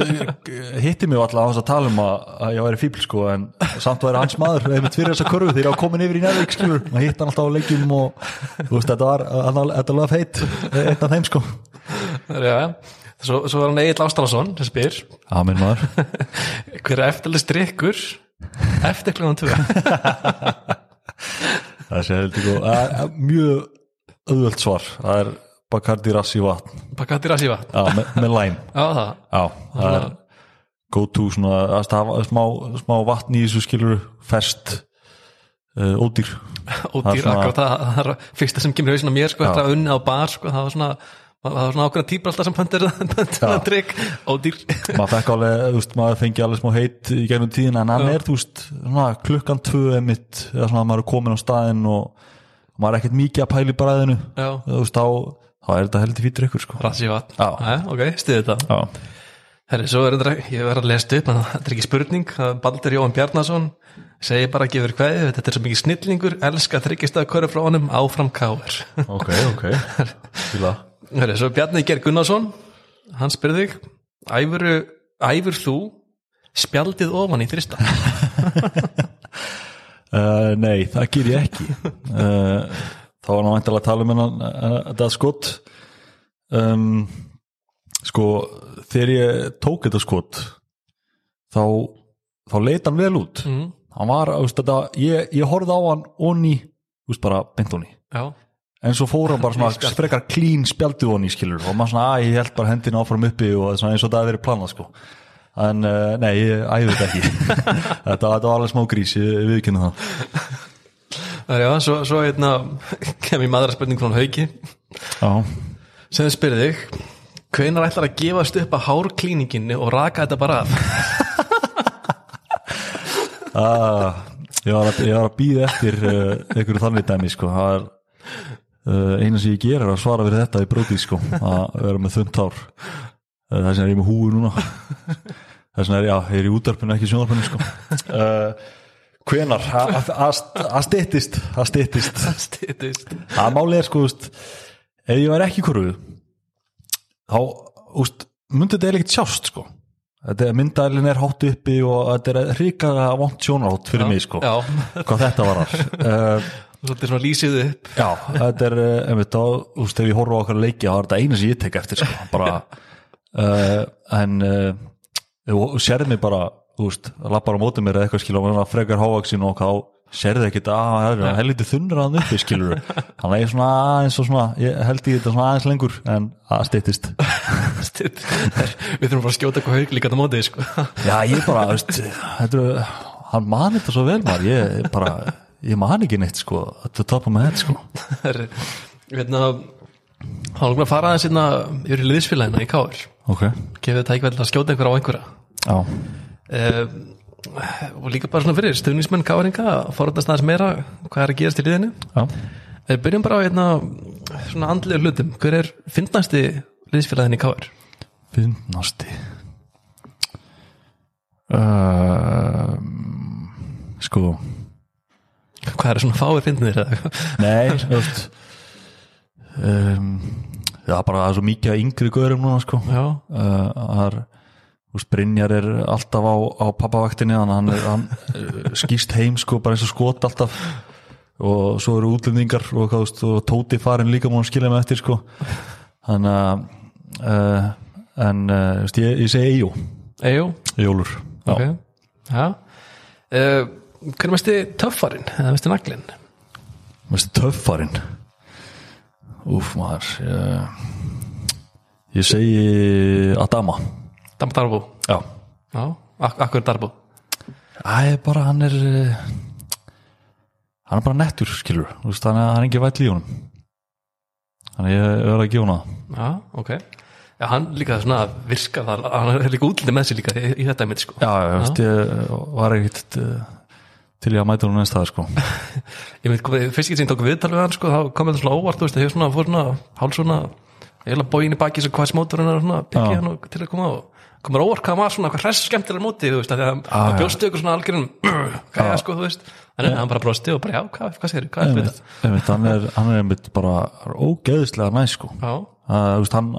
Speaker 2: hitti mig alltaf á þess að tala um að að ég væri fíbl sko, en samt væri hans maður einmitt fyrir þessa körfu þegar ég á komin yfir í nærvík skilur, maður hitti hann alltaf á leikjum og þú veist, þetta var, hann var- þetta var feit eitt af þeim sko.
Speaker 1: Það er, já, svo, svo er hann Egil Ástrásson sem spyr,
Speaker 2: Já, minn maður.
Speaker 1: hver er eftirlist drikkur eftir kljóðan 2?
Speaker 2: Það sé heldur sko, að- að mjög auðvöld svar, það er Bacardi Rassi vatn,
Speaker 1: Bakati rassi vatn,
Speaker 2: já, með, með læm.
Speaker 1: já það,
Speaker 2: Já, það er go to svona, að stafa smá, smá vatn í þessu skilur, ferst, uh, ódýr.
Speaker 1: og
Speaker 2: Það er
Speaker 1: dýr
Speaker 2: svona-
Speaker 1: akkurat sko, það, það er fyrsta sem kemur í hausinn á mér sko, þetta að unna á bar sko, það var svona það var svona ákveðna típar alltaf sem pöntir pöntir drikk og dýr
Speaker 2: maður fekk alveg, þú veist, maður fengi alveg smá heit í gegnum tíðina en hann er, þú veist, svona, klukkan tvö er mitt, eða svona maður er komin á staðinn og maður er ekkert mikið að pæla í bræðinu
Speaker 1: Já.
Speaker 2: þú veist, þá, þá er þetta heldur fýtur ykkur, sko
Speaker 1: rassi vatn,
Speaker 2: Já.
Speaker 1: Jæja, ok, stuði þetta
Speaker 2: Já,
Speaker 1: herri, svo er þetta, ég verð að lesa þetta upp en þetta er ekki spurning, það er Baldur Jóhann Bjarnason segi bara gefur kveði, þetta er svo mikið snillingur, elska þryggist að köru frá honum áfram káir
Speaker 2: ok, ok Fíla
Speaker 1: herri, svo Bjarni Ger Gunnarsson hann spyrði þig æfur, æfur þú spjaldið ofan í þrista
Speaker 2: uh, Nei, það ger ég ekki uh, Þá var hann væntalega að tala um hennan uh, þetta skot um, Sko, þegar ég tók þetta skot þá, þá leit hann vel út
Speaker 1: mm,
Speaker 2: hann var, þú veist, þetta, ég, ég horfði á hann onni, þú veist bara, beint onni
Speaker 1: já,
Speaker 2: en svo fór hann bara
Speaker 1: Í
Speaker 2: svona
Speaker 1: spjald.
Speaker 2: frekar klín spjaldið onni, skilur, og maður svona, að ég held bara hendina áfram uppi og svona eins og það hefði verið planað, sko en, uh, nei, ég æði þetta ekki þetta, þetta var alveg smá grís, ég viðkynna það
Speaker 1: Það er já, svo, svo hérna kem ég maður að spurning frá Hauki
Speaker 2: já,
Speaker 1: sem spyrir þig hvenar ætlar að gefast upp að hárklíninginni og raka þetta bara af
Speaker 2: ah, ég var að, ég var að býða eftir uh, einhverju þannig dæmi, sko það er Uh, eina sem ég gerir er að svara fyrir þetta í bróti sko, að vera með þunnt hár uh, þess vegna er ég með húu núna þess vegna er, já, ég er í útarpinu ekki í sjónarpinu sko. uh, hvenar að að- að styttist að styttist
Speaker 1: Stytist
Speaker 2: að máli er sko úst, ef ég væri ekki í korfu þá úst, myndi þetta eiginlega ekkert sjást sko Þetta er myndælin er hátt uppi og þetta er ríkaga vont sjónarhátt fyrir mig sko
Speaker 1: Já,
Speaker 2: hvað þetta var þar uh,
Speaker 1: svolítið svona lýsið upp
Speaker 2: Já, þetta er eh, einmitt á, þú veist, ef ég horfa á okkar leiki þá er þetta eina sem ég tek eftir sko, bara, uh, en uh, sérði mig bara, þú veist, lappar á móti mér eða eitthvað skilja, og hann frekar hávaksin og hvað á sérðu ekkert "Ah, að hann er hann er lítið þunnur að hann uppi skilur hann er svona aðeins og svona ég held ég þetta svona aðeins lengur en að styttist
Speaker 1: Stitt. Við þurfum bara að skjóta hvað haug líka á mótið sko.
Speaker 2: já ég bara veist, þetta, er- hann man þetta svo vel maður ég er bara ég man ekki neitt sko þetta tapar með þetta sko
Speaker 1: Það er, hérna, þá erum við að fara aðeins hérna yfir í liðsfélagina í Káur.
Speaker 2: ok
Speaker 1: Gefið þetta ekki vel að skjóta einhverja á einhverja.
Speaker 2: já
Speaker 1: Uh, og líka bara svona fyrir, stuðnismenn Káringa, forðast aðeins meira hvað er að gerast í liðinu.
Speaker 2: já
Speaker 1: Við byrjum bara á hérna, svona andlega hlutum. Hver er finnasti liðsfélagin í Káur?
Speaker 2: finnasti uh, sko
Speaker 1: Hvað er svona fáið finnir þér?
Speaker 2: nei þú veist, um, það er bara það er svo mikið af yngri gaurum núna sko
Speaker 1: Já,
Speaker 2: uh, það er þú veist, Brynjar er alltaf á, á pappavaktinni þannig að hann, er- hann uh, skýst heim sko bara eins og skot alltaf og svo eru útlendingar og, hvað, þú veist, og Tóti farin líka múin skilja með eftir sko þannig að uh, en uh, þú veist, ég, ég segi Eyjó
Speaker 1: eigjó,
Speaker 2: Jólur
Speaker 1: ok. Já. Uh, hver er mesti töffarinn, eða mesti naglinn?
Speaker 2: Mestu töffarinn Úf maður ég, ég segi Adama
Speaker 1: Dam Darbo.
Speaker 2: Já
Speaker 1: Já, ak akkur Darbo.
Speaker 2: Æ, bara hann er eh, hann er bara nettur, skilur Þú veist, hann er, hann er ekki væll í honum þannig að ég verð að gefa hana
Speaker 1: Já, ok Já, hann líka svona að virka það hann er líka útlítið með sér líka í, í þetta mitt sko
Speaker 2: Já, já, þú veist, ég var ekkert eh, til ég að mæta hún einn stað, sko
Speaker 1: Ég veit, hvað- fyrst ekki sem ég tók viðtal við hann sko þá kom þetta svona óvart, þú veist, það hefur svona fór svona hálf svona, eiginlega bóin í baki sem hvað smótur hann er svona,
Speaker 2: Já.
Speaker 1: pikki hann og, til að koma á komur óvart hvað hann var svona, hvað hress skemmtilega móti þú veist, af því að hann hann
Speaker 2: Ah, já.
Speaker 1: bjóstu ykkur svona algjörnum hvað er sko, þú veist, en hann bara brosti og bara já, hvað, hvað segir, hvað er þetta
Speaker 2: einmitt, einmitt, hann, er, hann er einmitt bara hann er ógeðislega næ, sko
Speaker 1: Já,
Speaker 2: Það, þú veist, hann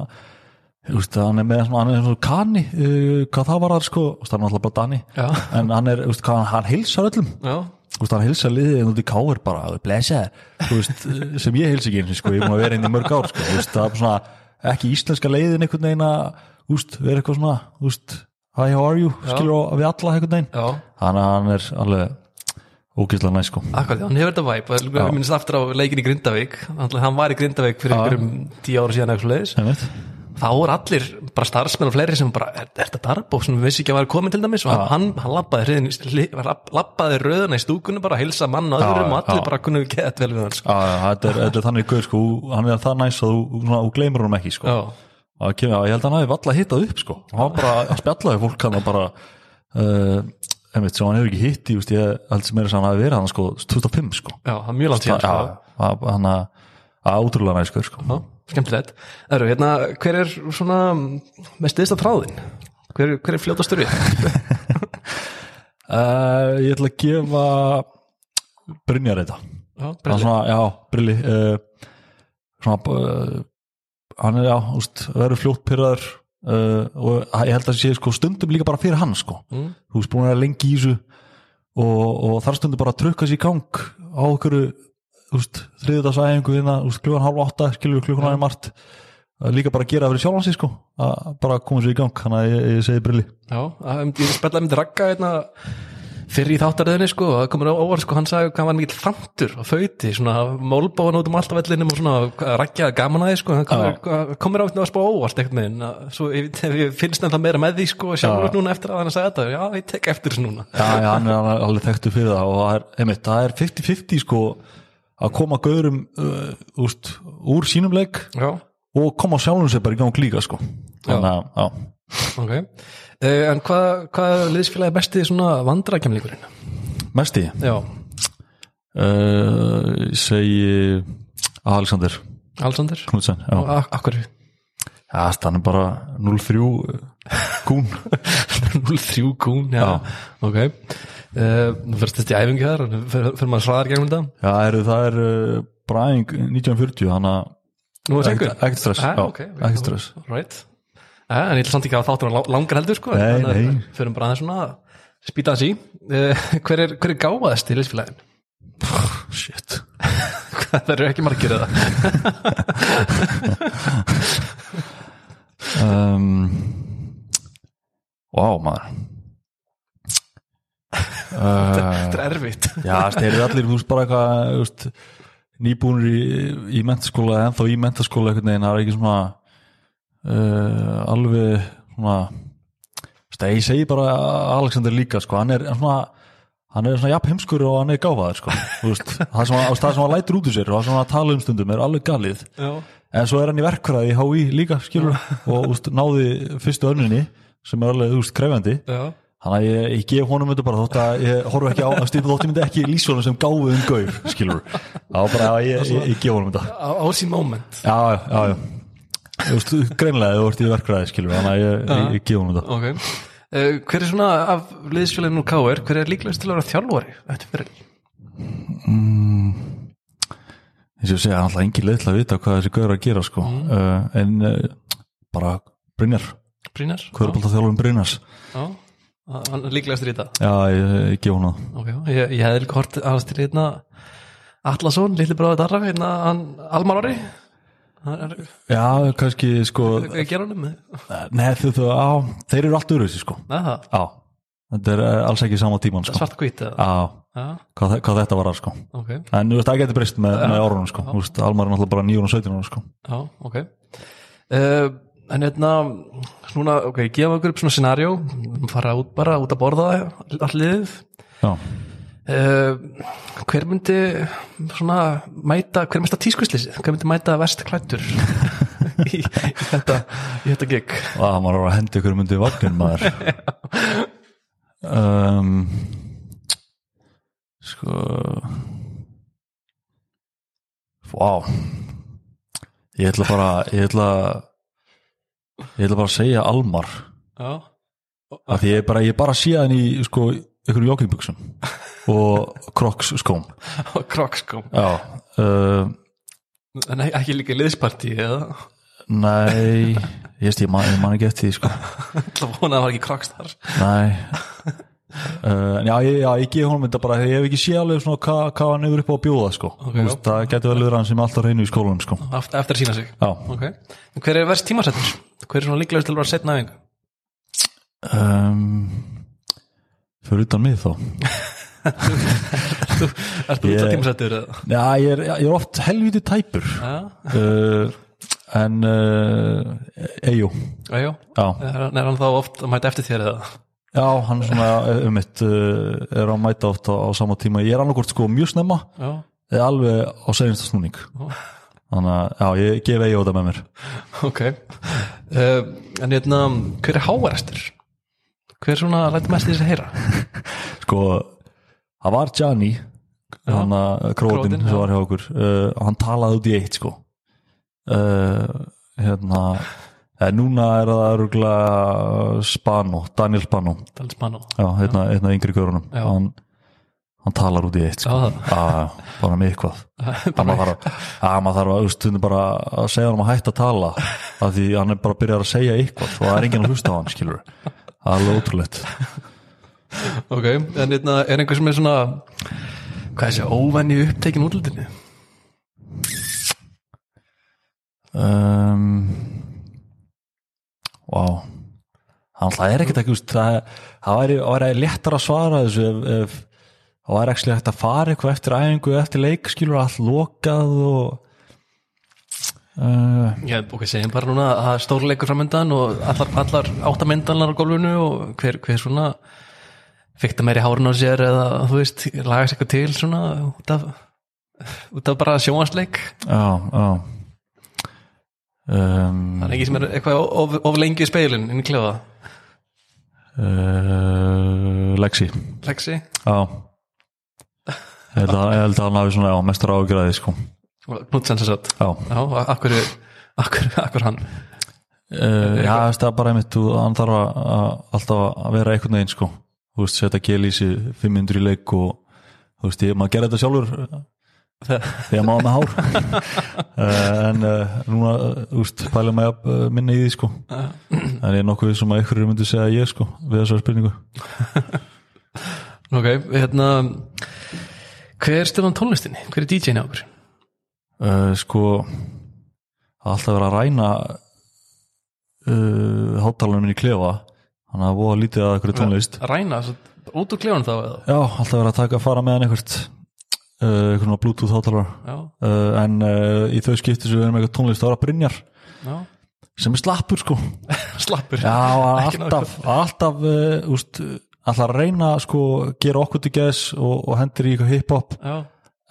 Speaker 2: þú veist, hann er með svona, hann er svona kanni uh, hvað það var það, sko, þú veist, hann er alltaf bara Dani
Speaker 1: Já.
Speaker 2: en hann er, þú veist, hvað hann, hann hilsar öllum
Speaker 1: já,
Speaker 2: Þú veist, hann hilsa liðið en út í káir bara blessaður, þú veist, sem ég hilsa ekki eins og sko, ég er búin að vera inn í mörg ár sko, þú veist, það er svona, ekki íslenska leiðin einhvern veginn að, þú veist, vera eitthvað svona þú veist, hi, how are you, skilur á við alla einhvern veginn,
Speaker 1: já
Speaker 2: þannig að hann er alveg ógæslega næ sko
Speaker 1: Akkurat, hann hefur þetta væp og við minnst aftur á leikin í Grindavík Náttúrulega, hann var í Grindavík fyrir einhverjum tíu ára síðan eitthvað leiðis
Speaker 2: einmitt,
Speaker 1: þá voru allir, bara starfsmenn og fleiri sem bara, er, er þetta Darbo sem við vissi ekki að vera komin til dæmis og hann, hann labbaði, hriðin, li, labbaði röðuna í stúkunni bara að hilsa mann og öðrum og allir
Speaker 2: já.
Speaker 1: bara kunnu gett vel við hann sko.
Speaker 2: Já, já, þetta er, þetta er þannig gaur sko, hann er það næs að þú, svona, þú gleymur honum ekki sko,
Speaker 1: Já,
Speaker 2: að kemur, já, ég held að hann hafi valla hittað upp sko, hann var bara að spjalla við fólk hann og bara uh, einmitt, sem hann hefur ekki hitt í, þú veist, ég held sem er þess að hann hafi verið hann sko, 25 sko
Speaker 1: já, það er mjög langt síðan sko.
Speaker 2: Já, að- hann að að ótrúlega næskur sko.
Speaker 1: Já, skemmtilegt Eru, hérna, Hver er svona mest yðsta þráðin? Hver, hver er fljótastur við?
Speaker 2: uh, ég ætla að gefa Brynjar þetta
Speaker 1: Já,
Speaker 2: Hann
Speaker 1: Brilli.
Speaker 2: svona, já, Brilli uh, svona uh, hann er, já, úst, verður fljótt pyrraður uh, og ég held að það sé sko, stundum líka bara fyrir hann sko.
Speaker 1: Mm.
Speaker 2: þú veist búin að vera lengi í þessu og, og þar stundum bara að trukka sér í gang á okkur þriðudagsæðingu þina, úst, hérna, klukkan hálf átta skilur klukkan aðeins margt Það er líka bara að gera það fyrir sjálfansi sko að bara koma sér í gang, hann að ég, ég segi Brilli
Speaker 1: Já, að- ég spjallaði myndi ragga hérna fyrir í þáttaröðinni sko og það komur á óvart sko, hann sagði hvað hann var mikill framtur og föyti, svona mólbóðan út um alltaf vellinum og svona raggjaði gaman að því sko hann komur, komur á þetta að spá óvart einhvern veginn að- svo ég, ég finnst nefnilega meira með því sko sjálfur núna eftir að hann sagði þetta já, ég tek eftir þessu núna
Speaker 2: Já, já, hann er alveg- alveg þekktu fyrir það og það er, einmitt, það er 50-50 sko að koma gaurum uh, úst, úr sínum leik
Speaker 1: Já,
Speaker 2: og koma sjálfum sér bara í gang líka sko þannig að, já,
Speaker 1: ok uh, En hvað, hvað liðsfélagi er besti svona vandrakemlingurinn?
Speaker 2: mesti
Speaker 1: Já,
Speaker 2: uh, segi Alexander
Speaker 1: Alexander
Speaker 2: Knudsen, já,
Speaker 1: og ak- Akkur
Speaker 2: já hann er bara uh, 0-3 kún
Speaker 1: 0-3 kún, já,
Speaker 2: Já.
Speaker 1: ok uh, Nú fyrst þetta í æfingu þar fyrir maður sraðar gegnum þetta
Speaker 2: Já, er, það er uh, bræðing 1940 hann að,
Speaker 1: Nú er
Speaker 2: ekkert
Speaker 1: sengur?
Speaker 2: ekkert stress,
Speaker 1: Ah,
Speaker 2: já,
Speaker 1: ok, ok.
Speaker 2: ekkert stress
Speaker 1: Right. Ja, en ég ætla samt ekki að hafa þáttur að langar heldur sko,
Speaker 2: Nei,
Speaker 1: þannig að
Speaker 2: nei.
Speaker 1: við Förum bara aðeins svona að spýta hans í uh, hver, er, hver er gáfaðist í liðsfélagin?
Speaker 2: Shit
Speaker 1: það eru ekki margir eða
Speaker 2: um, Vá maður uh,
Speaker 1: Þetta er erfitt
Speaker 2: Já, þeir eru allir, þú veist bara eitthvað þú veist, nýbúnir í, í mentaskóla ennþá í mentaskóla einhvern veginn það er ekki svona uh, alveg svona stæ, ég segi bara Alexander líka sko, hann er svona hann er svona jafn heimskur og hann er gáfaður sko. þú veist, það sem, hann- það sem hann lætur út úr sér og það sem hann tala um stundum er alveg galið
Speaker 1: Já,
Speaker 2: en svo er hann í verkfræði í HÍ líka skilur og úst, náði fyrstu önninni sem er alveg úst, krefjandi
Speaker 1: já,
Speaker 2: Þannig að ég, ég gef honum þetta bara þótt að ég horf ekki á að stýpa þótt ég myndi ekki lýsa honum sem gáfið um gaur, skilur þá bara að ég, ég, ég gef honum þetta
Speaker 1: á, á sín moment
Speaker 2: Já, já, já, já. Þú veist, greinlega þú ert í verkræði, skilur þannig að ég, ég, ég gef honum þetta
Speaker 1: Ok Uh, hver er svona af liðsfélaginu K.R. hver er líklegast til að vera þjálfari eftir fyrir
Speaker 2: eins og ég segja, hann alltaf engin leið til að vita hvað þessi gaur er að gera, sko uh, en uh, bara Brynjar,
Speaker 1: Brynjar
Speaker 2: hverjabólta þjálfum Brynjars
Speaker 1: Já, já, hann er líklegastur í þetta
Speaker 2: Já, ég, ég gef honum það
Speaker 1: okay. ég, ég hefði líka hort aðast til hérna Atlasson, litli bróðið Darra hérna hann Almar Orri hann er,
Speaker 2: Já, kannski, sko
Speaker 1: hvað gera hann um það?
Speaker 2: Nei, þú, þú, á, þeir eru allt öðruvísi, sko
Speaker 1: það
Speaker 2: Já, þetta er eh, alls ekki sama tíman,
Speaker 1: er
Speaker 2: sko
Speaker 1: svart hvít eða?
Speaker 2: Já,
Speaker 1: Já,
Speaker 2: hvað, þe- hvað þetta var að sko
Speaker 1: ok,
Speaker 2: en þú veist það getur breyst með, með árunum sko Þú veist, Almar er náttúrulega bara 9 og 17 ára sko
Speaker 1: já, ok uh, En hérna svona, ok, gefa okkur upp svona scenario fara út bara, út að borða allir
Speaker 2: já,
Speaker 1: Uh, hver myndi svona mæta, hver mesta tískuslýsið hver myndi mæta verst klættur í, í þetta í þetta gig
Speaker 2: og Almar var að hendi ykkur myndi vagnin maður um, sko vá ég ætla bara ég ætla ég ætla bara að segja Almar
Speaker 1: já,
Speaker 2: af því ég bara, ég bara sé hann í sko ykkur joggingbuxum og crocs skóm
Speaker 1: og krokskom
Speaker 2: já, um
Speaker 1: en ekki- ekki líka í liðspartí eða
Speaker 2: Nei, ég veist, ég man, ég man ekki eftir því sko
Speaker 1: ætla að vona að það var ekki kroks þar
Speaker 2: Nei uh, en Já, ég, já, ég gef honum þetta bara Ég hef ekki séð alveg svona hvað hva hann hefur upp á að bjóða sko
Speaker 1: Ok,
Speaker 2: Þú veist, Það getur vel verið hann sem er alltaf reynu í skólanum sko
Speaker 1: Aft- eftir að sína sig
Speaker 2: Já,
Speaker 1: okay. En hver er verst tímasettur? hver er svona líklegast til að vera setna af einhver?
Speaker 2: um, fyrir utan mig þá
Speaker 1: ertu út að
Speaker 2: Ég-
Speaker 1: tímasettur eða?
Speaker 2: Já, ég er, ég er oft helviti tæpur
Speaker 1: Já,
Speaker 2: uh, En uh, Eyjú,
Speaker 1: já, já
Speaker 2: já
Speaker 1: er hann- er hann þá oft að mæta eftir þér eða?
Speaker 2: Já, hann svona um mitt uh, er að mæta oft á, á sama tíma Ég er annarkvort sko mjög snemma
Speaker 1: já,
Speaker 2: eða alveg á segjumsta snúning þannig að já, ég gef eigi á þetta með mér
Speaker 1: ok uh, en hérna, hver er háværestur? hver svona lætur mest í þess að heyra?
Speaker 2: sko, það var Gianni hann að krótin
Speaker 1: Króatinn,
Speaker 2: sem
Speaker 1: já.
Speaker 2: var hjá okkur uh, hann talaði út í eitt sko uh, hérna eh, núna er það örgla Spano, Daniel Spano
Speaker 1: Dalsmann og
Speaker 2: já, hérna, hérna yngri görunum
Speaker 1: Já.
Speaker 2: hann, hann talar út í eitt sko.
Speaker 1: Já, það.
Speaker 2: Já, já, bara með eitthvað að maður þarf að, að, maður þarf að, þú veist, stundum bara að segja hann að hætta að tala af því hann er bara að byrja að segja eitthvað og það er enginn að hlusta á hann, skilur það er alveg ótrúlegt
Speaker 1: Ok, en hérna er einhver sem er svona hvað er þessi óvenni upptekin útlutinu?
Speaker 2: um, wow hann alltaf er ekkert ekki, þú veist, það það væri, það væri léttar að svara þessu ef, ef það væri ekki hægt að fara eitthvað eftir æfingu, eftir leik, skilur allt lokað og uh,
Speaker 1: Já, ok, segjum bara núna að það er stórleikur framöndan og allar, allar áttamyndanar á gólfinu og hver, hver svona fykta meiri hárun á sér eða þú veist, lagast eitthvað til svona út af, út af bara sjóansleik
Speaker 2: já, já um,
Speaker 1: Það er ekki sem er eitthvað of, of lengi í speilin inn í klefa,
Speaker 2: Uh, Lexi
Speaker 1: Lexi
Speaker 2: Já Ég held að, ég held að hann hafi svona já, mestar ágræði sko
Speaker 1: Knútsens að satt
Speaker 2: Já,
Speaker 1: Já, akkur, akkur, akkur hann
Speaker 2: uh, já veist, það er bara einmitt þú, hann þarf að, að, alltaf að vera einhvern veginn sko Þú veist, setja gelísi 500 í leik og þú veist, ég, maður gerir þetta sjálfur uh, þegar maður var með hár uh, en uh, núna, uh, þú veist, pæla maður uh, minna í því sko en ég er nokkuð sem að ykkur myndi segja ég sko við þessari spurningu
Speaker 1: Ok, hérna Hver er stjórnum tónlistinni? Hver er DJ-inni á okkur?
Speaker 2: uh, sko það er alltaf verið að ræna eh, uh, hátalarinn minn í klefa þannig að það er voða lítið að eitthvað tónlist
Speaker 1: Ræna, svo, Út úr klefanum þá eða?
Speaker 2: Já, alltaf verið að taka að fara með hann einhvert uh, einhvern veginn Bluetooth hátalara
Speaker 1: Já,
Speaker 2: uh, en uh, í þau skipti sem við erum eitthvað tónlist þá var að Brynjar
Speaker 1: já.
Speaker 2: sem er slappur sko
Speaker 1: Slappur.
Speaker 2: Já,
Speaker 1: Ekki nógu
Speaker 2: alltaf, alltaf uh, úst, alltaf að reyna sko gera okkur til geðs og, og hendur í eitthvað hip-hop
Speaker 1: Já,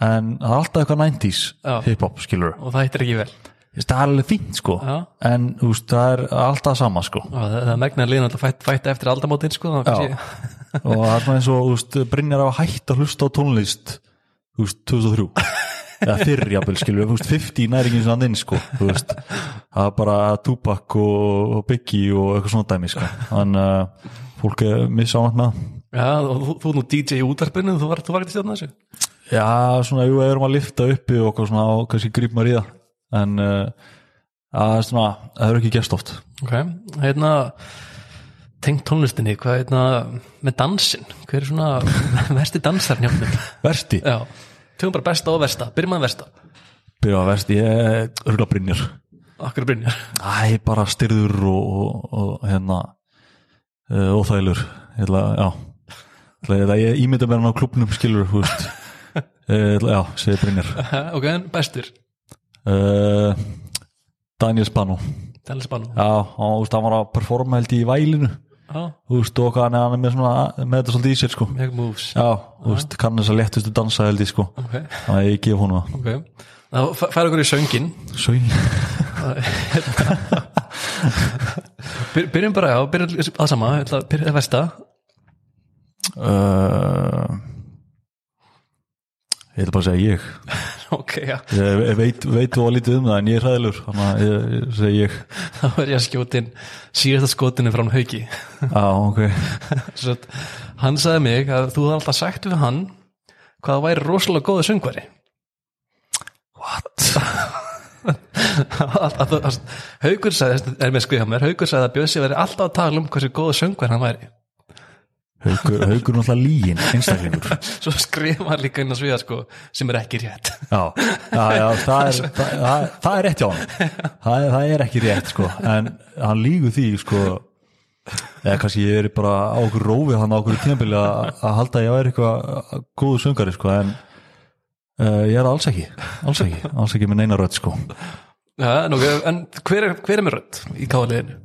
Speaker 2: en það er alltaf eitthvað 90s
Speaker 1: Já.
Speaker 2: hip-hop skilur
Speaker 1: og það hittir ekki vel.
Speaker 2: það er alveg fínt sko
Speaker 1: Já.
Speaker 2: en úst, það er alltaf sama sko
Speaker 1: Já, það, það megnar liðin alltaf fætt, fætt eftir aldamótin, sko. þá kannski-
Speaker 2: Já. og það er svona eins og úst, Brynjar hafa hægt að hlusta á tónlist úst, 2003 eða fyrr jafnvel skilur úst, 50 næringin sem hann inn sko úst, það er bara Tupac og, og Biggie og eitthvað svona dæmi sko þannig að uh, fólk er missávænt með það
Speaker 1: Já, og þú, þú er nú DJ í útarpinu, þú var, þú var ekki stjórn þessu.
Speaker 2: Já, svona, jú, við erum að lifta uppi og okkur svona, og kannski gríp maður í það en uh, að, svona, það hefur ekki gerst oft
Speaker 1: Ok, hérna, tengt tónlistinni, hvað hérna, með dansin, hver er svona versti dansar njáttið?
Speaker 2: Versti,
Speaker 1: Já, tökum bara besta og versta, byrjum að versta.
Speaker 2: byrja að versti, ég eh, örgulega brinnir
Speaker 1: Akkur Brynjar.
Speaker 2: Æ, bara styrður og, og, og hérna uh, óþælur, ég ætla, já ætla, ég, ég ímynda mér hann á klubnum skilur, þú veist Eh, ég ætla, Já, segir brinnir
Speaker 1: ok, en bestur,
Speaker 2: uh, Daniel Spano
Speaker 1: Dennis Bano.
Speaker 2: Já, hann, þú veist, hann var að performa held ég í vælinu
Speaker 1: Já,
Speaker 2: þú veist, og hann hann er með svona með þetta svolítið í sér, sko
Speaker 1: mjög moves.
Speaker 2: Já, þú veist, kann þess að léttustu dansa held ég sko
Speaker 1: Ok,
Speaker 2: Þannig að ég gef honum það
Speaker 1: ok. Það færa okkur í söngin.
Speaker 2: Svein
Speaker 1: Byr, byrjum bara, já, byrjum að sama, ég ætla að byrja að versta.
Speaker 2: uh, Ég ætla bara að segja ég
Speaker 1: Ok, já,
Speaker 2: Ég, ég Eh, veit, veit þú að lítið um það en ég er hræðilur Þannig að ég, ég segja ég
Speaker 1: þá er ég að skjótin síðasta skotinu frá hann hauki.
Speaker 2: Já, ok
Speaker 1: Svo að hann sagði mig að þú hafði alltaf sagt við hann hvað það væri rosalega góðu söngvari
Speaker 2: What?
Speaker 1: Að- að- að- Haukur sagði, er með skrifa mér Haukur sagði að Bjössi væri alltaf að tala um hversu góðu söngvari hann væri
Speaker 2: Haukur, haukur er náttúrulega lígin, einstaklingur
Speaker 1: svo skrifa hann líka inn á sviða sko, sem er ekki rétt
Speaker 2: Já, já, já það, er, það, það, það er rétt hjá hann það, er- það er ekki rétt sko En hann lígu því sko Eða kannski ég er bara á okkur rófi hann á okkur tímabili að að halda að ég væri eitthvað góðu söngari sko En uh, ég er það alls ekki Alls ekki, alls ekki með neina rödd sko
Speaker 1: ja, nú, en hver er, hver er með rödd í káliðinu?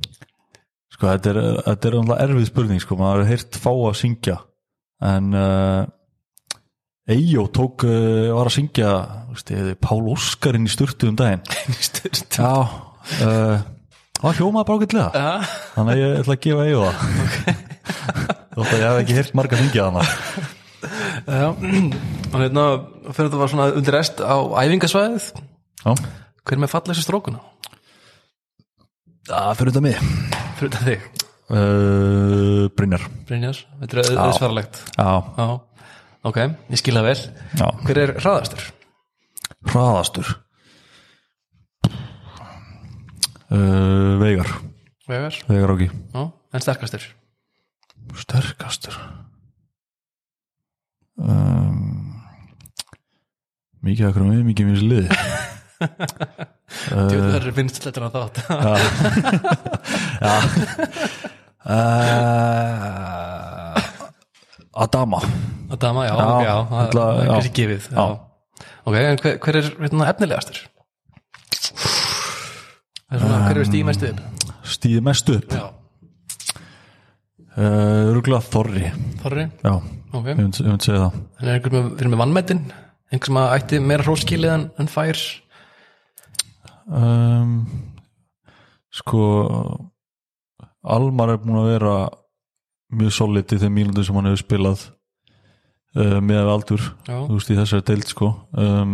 Speaker 2: Sko þetta er, þetta er náttúrulega erfið spurning sko Maður er heyrt fá að syngja En uh, Eyjó tók, uh, var að syngja þú veist, ég hefði Pál Óskarinn í styrtu um daginn
Speaker 1: ja.
Speaker 2: Já uh, Það hljómaði bara ágætlega Þannig að ég ætla að gefa eigu það Þótt að ég hef ekki heyrt marga hringja þannig
Speaker 1: Já, og hérna fyrir þetta var svona undir rest á æfingasvæðið
Speaker 2: Já,
Speaker 1: hver er með fallegsa strókuna?
Speaker 2: það fyrir þetta mig
Speaker 1: fyrir þetta þig,
Speaker 2: uh, Brynjar
Speaker 1: Brynjars, þetta er auðsvaralegt
Speaker 2: Já,
Speaker 1: Já, ok, ég skil það vel
Speaker 2: já,
Speaker 1: Hver er hraðastur?
Speaker 2: hraðastur uh, Veigar
Speaker 1: Vegar
Speaker 2: Veigar áki
Speaker 1: Já, en sterkastur
Speaker 2: Sterkastur um, Mikið akkur með, mikið mér lið
Speaker 1: Djúðar uh, finnst þetta að þátt
Speaker 2: uh, Adama
Speaker 1: Adama, já, já,
Speaker 2: Já,
Speaker 1: okay, já það það
Speaker 2: ætla-
Speaker 1: er
Speaker 2: já.
Speaker 1: kannski gefið já. Ok, en hver, hver er hérna, efnilegastur? Það er svona, hver er stíð mestu upp?
Speaker 2: Stíði mest upp
Speaker 1: Já,
Speaker 2: uh, Rúglega Þorri
Speaker 1: Þorri,
Speaker 2: Já,
Speaker 1: ok
Speaker 2: ég myndi mynd segja það
Speaker 1: En er einhver með, þeir eru með vannmættin einhver sem að ætti meira hróskilið en, en fær
Speaker 2: um, Sko Almar er búin að vera mjög solid í þeim mínútur sem hann hefur spilað uh, með aldur
Speaker 1: Já,
Speaker 2: þú veist, í þessari deild sko um,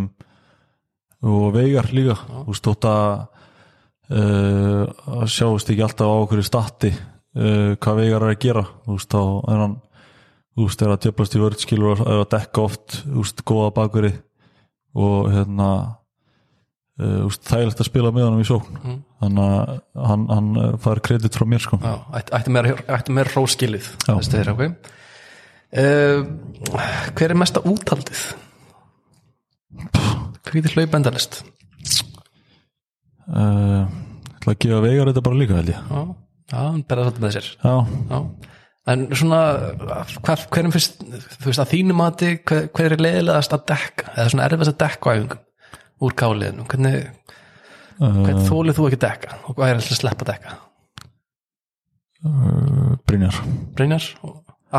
Speaker 2: og Veigar líka þú veist, þótt að uh, að sjáist ekki alltaf á okkur statti uh, hvað Veigar er að gera þú veist, þá er hann þú veist, er að tjöplast í vörðskilur og er að dekka oft, þú veist, góða bakveri og hérna uh, þú veist, þægilegt að spila með honum í sókn
Speaker 1: Mm.
Speaker 2: þannig að hann, hann eh, fær kredit frá mér sko
Speaker 1: já ætti, ætti meira, ætti meira hróskilið
Speaker 2: Já.
Speaker 1: Þessi þeir, ok uh, Hver er mesta úthaldið? Hvað getur hlaup endalist?
Speaker 2: uh, ætla að gefa Veigar þetta bara líka held ég
Speaker 1: Já, já, hann berða svolítið með sér
Speaker 2: já,
Speaker 1: Já, en svona hver, hverjum fyrst, þú veist að þínum mati hver, hver er leiðilegast að dekka eða svona erfiðast að dekka á æfingum úr káliðinu, hvernig, hvernig þólið þú ekki að dekka og hvað er alltaf að sleppa að dekka
Speaker 2: uh, Brynjar
Speaker 1: Brynjar,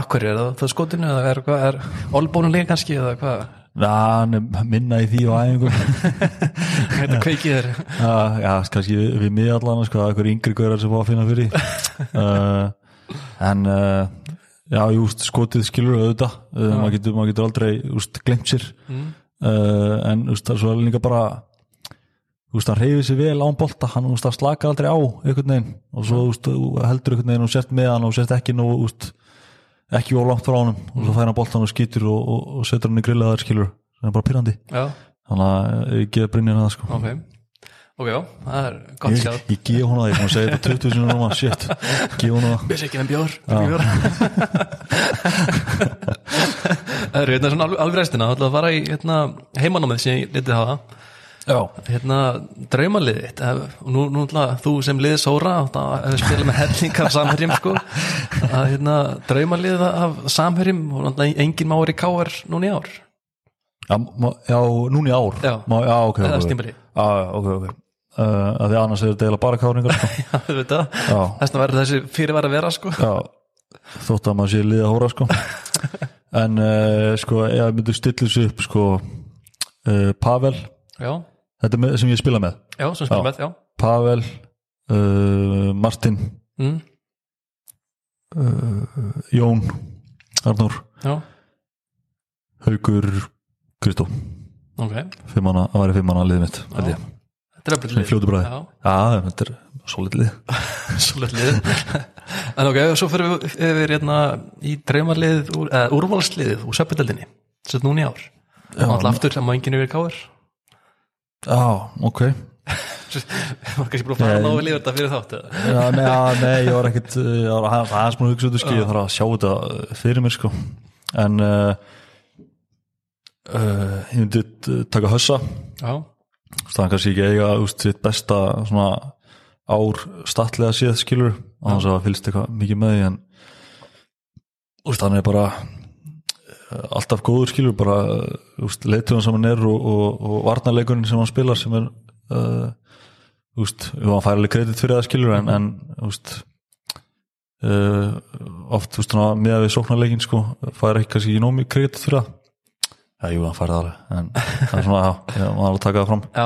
Speaker 1: akkur er það, það skotinu eða er, hvað, er olbónu líka kannski eða hvað,
Speaker 2: Já, hann er minna í því og æfingum
Speaker 1: þetta kveikið þér
Speaker 2: Já, já, kannski við, við miðallana sko, eitthvað yngri gaurar sem fá að finna fyrir því. uh, en uh, já, júst, skotið skilur auðvitað, uh, maður getur, maður getur aldrei úst, glemt sér uh, en úst, það er svo líka bara úst, hann reyfið sér vel án bolta hann úst, slaka aldrei á einhvern veginn og svo úst, þú heldur einhvern veginn og sért með hann og sért ekki nú úst, ekki of langt frá honum og svo fær hann boltan og skýtur og, og, og setur hann í grillaðar skilur, það er bara pyrrandi
Speaker 1: já,
Speaker 2: þannig að ég geði brinnir það sko
Speaker 1: ok ok, já, það er gott
Speaker 2: Ég,
Speaker 1: sjáð
Speaker 2: ég gef hún að því, hún segi þetta 20 sinum núna, shit, gef hún að það.
Speaker 1: Björs ekki með bjór, bjór. Það eru hérna svona alveg, alveg restina Það ætla að fara í hérna, heimanámið sem ég letið hafa
Speaker 2: Já.
Speaker 1: hérna, Draumaliðið þitt ef- og nú, nú ætla þú sem liðið sóra átt að ef við spilum með hellingar samherjum sko, að hérna, draumalið af samherjum og náttúrulega engin máur í káar núna í ár
Speaker 2: Já, má- já, núna í ár.
Speaker 1: Já.
Speaker 2: Má, já, ok,
Speaker 1: Eða
Speaker 2: ok.
Speaker 1: stímabili.
Speaker 2: Já, já, ok, ok. Uh, að því annars er þetta eiginlega bara káringar, sko.
Speaker 1: Já, þú veit það.
Speaker 2: Já,
Speaker 1: Þess vegna verður þessi fyrirvar að vera sko.
Speaker 2: já, þótt að maður sé liða hóra, sko. En, uh, sko, ef ég myndi stilla þessu upp, sko, uh, Pavel,
Speaker 1: Já,
Speaker 2: þetta er með, sem ég spila með.
Speaker 1: já, sem spilum
Speaker 2: Já.
Speaker 1: með, já
Speaker 2: Pavel, uh, Martin,
Speaker 1: mm,
Speaker 2: Jón, Arnór,
Speaker 1: Já,
Speaker 2: Haugur, Kristó.
Speaker 1: ok
Speaker 2: Fimmana, það væri fimmana liðið mitt, held ég.
Speaker 1: Þetta er að byrja
Speaker 2: Í fljótu bragði.
Speaker 1: Já,
Speaker 2: Já, þetta er svolítið
Speaker 1: Svolítið lið En ok, og svo fyrir við yfir hérna, í draumarliðið, úr, eða úrvalsliðið úr söpindaldinni, sem núna í ár og alltaf aftur sem maður enginn yfir káir
Speaker 2: Já, ok
Speaker 1: var kannski búin að fara
Speaker 2: Nei.
Speaker 1: náðu lífur þetta fyrir þátt eða?
Speaker 2: já, nei, já, nei, ég var ekkit uh, ég var aðeins aðeins múin að hugsa út í skil ég þarf að sjá þetta uh, fyrir mér sko en uh, uh, ég myndi uh, taka hössa
Speaker 1: Já,
Speaker 2: það er kannski ekki eiga úst, sitt besta svona ár statlega séð skilur þannig að það fylgst eitthvað mikið með því en úst, hann er bara eh, alltaf góður skilur bara eh, úst, leituðan sem hann er og, og, og varnarleikurinn sem hann spilar sem er uh, úst, jú, hann fær alveg kredit fyrir það skilur en, en úst, uh, oft úst, svona, með að við sóknarleikin sko, fær ekki kannski ekki nómi kredit fyrir það Já, jú, hann fær það alveg en það er svona, já, já, maður alveg taka það fram
Speaker 1: já,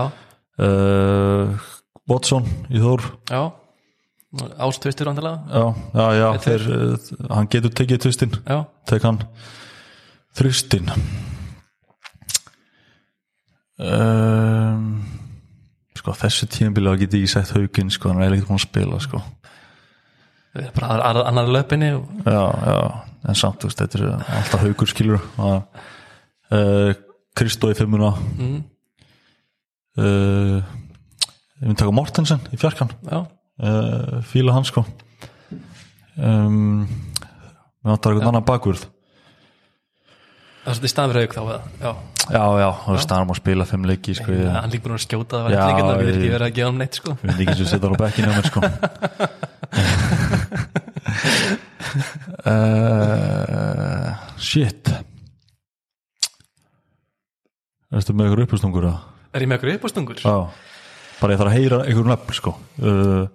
Speaker 2: uh, Watson í Þór
Speaker 1: já Ástvistur vandilega
Speaker 2: já, já, já
Speaker 1: Þetta
Speaker 2: þeir, uh, hann getur tekið tvistin
Speaker 1: Já,
Speaker 2: tek hann þristin um, sko þessu tíðanbíla get ég ekki sett hauginn sko, hann er eiginlega ekki búin að spila sko.
Speaker 1: við erum bara aðra- aðra- annar löpinni og
Speaker 2: já, já, en samt þú veist, þetta er alltaf haugur skilur uh, Kristó í fimmuna mm. uh, ég myndi taka Mortensen í fjarkan
Speaker 1: já,
Speaker 2: uh, fíla hann sko um, við vantar einhvern annan bakvörð
Speaker 1: það er svolítið í staðan fyrir auk þá eða? Já,
Speaker 2: já, já, þú veist, hann má spila fimm leiki sko, ég
Speaker 1: hann lík búin að skjóta það var
Speaker 2: Já,
Speaker 1: ekki líka við
Speaker 2: ég-
Speaker 1: erum ekki verið að gefa hann neitt sko
Speaker 2: ég veit ekki sem setja hann á bekkinu á mér sko uh, shit Ertu með ykkur uppustungur að?
Speaker 1: Er ég með okkur uppástungur?
Speaker 2: Já, bara ég þarf að heyra ykkur nöfn sko uh,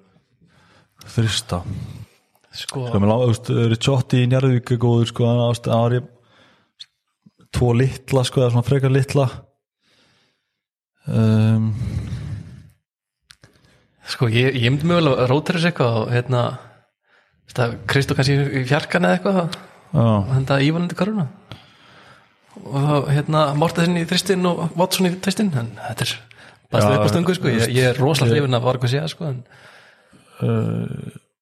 Speaker 2: Þrista
Speaker 1: Sko,
Speaker 2: Sko, mér lág, þú veist, Ricciotti í Njarðvík er góður, sko, hann ást, hann var ég tvo litla, sko, eða svona frekar litla um,
Speaker 1: Sko, ég, ég myndi mögulega að róta þessu eitthvað og hérna, þetta, Kristó kannski í fjarkan eða eitthvað,
Speaker 2: já,
Speaker 1: og henda Ívan undir körfuna. Og þá, hérna, Mortensen í þristinn og Watson í þristinn, en þetta er bæstu
Speaker 2: Já,
Speaker 1: upp á stungu, sko, ég, ég er rosalega hrifin af Vargas ég, sko, en,
Speaker 2: Uh,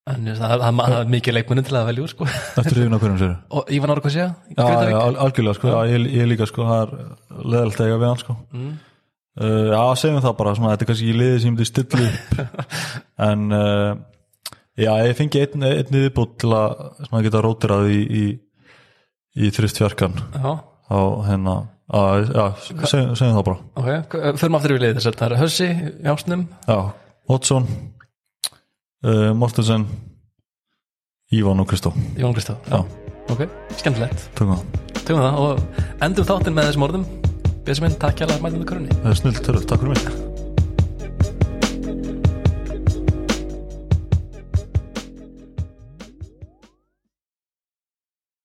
Speaker 1: en ég veist, það, það, það er mikið leikmunni til að velja úr, sko,
Speaker 2: eftir hrifin á hverjum sér
Speaker 1: og Ívan Vargas ég,
Speaker 2: Já,
Speaker 1: Grindavík,
Speaker 2: já, al- algjörlega, sko, já, ég, ég líka, sko, það er leðalt eiga við hann, sko uh, Já, segjum það bara, svona, þetta er kannski ekki liðið sem ég myndi stilla upp en uh, já, ég fengi einn, einn viðbútt til að svona, geta rótirað í, í, í þristfjarkan
Speaker 1: já,
Speaker 2: á hérna, að, já, segjum, segjum það bara
Speaker 1: ok, hva- förum aftur yfir liðið þess að það er Hössi í ásnum,
Speaker 2: Já, Watson uh, Mortensen Ívan og Kristó
Speaker 1: Jón Kristó
Speaker 2: Já,
Speaker 1: Ok, skemmtilegt
Speaker 2: tökum það,
Speaker 1: Tökum það og endum þáttinn með þessum orðum Bjössi minn, takk hjá að mætum við körunni
Speaker 2: það er snill törf, takk fyrir mig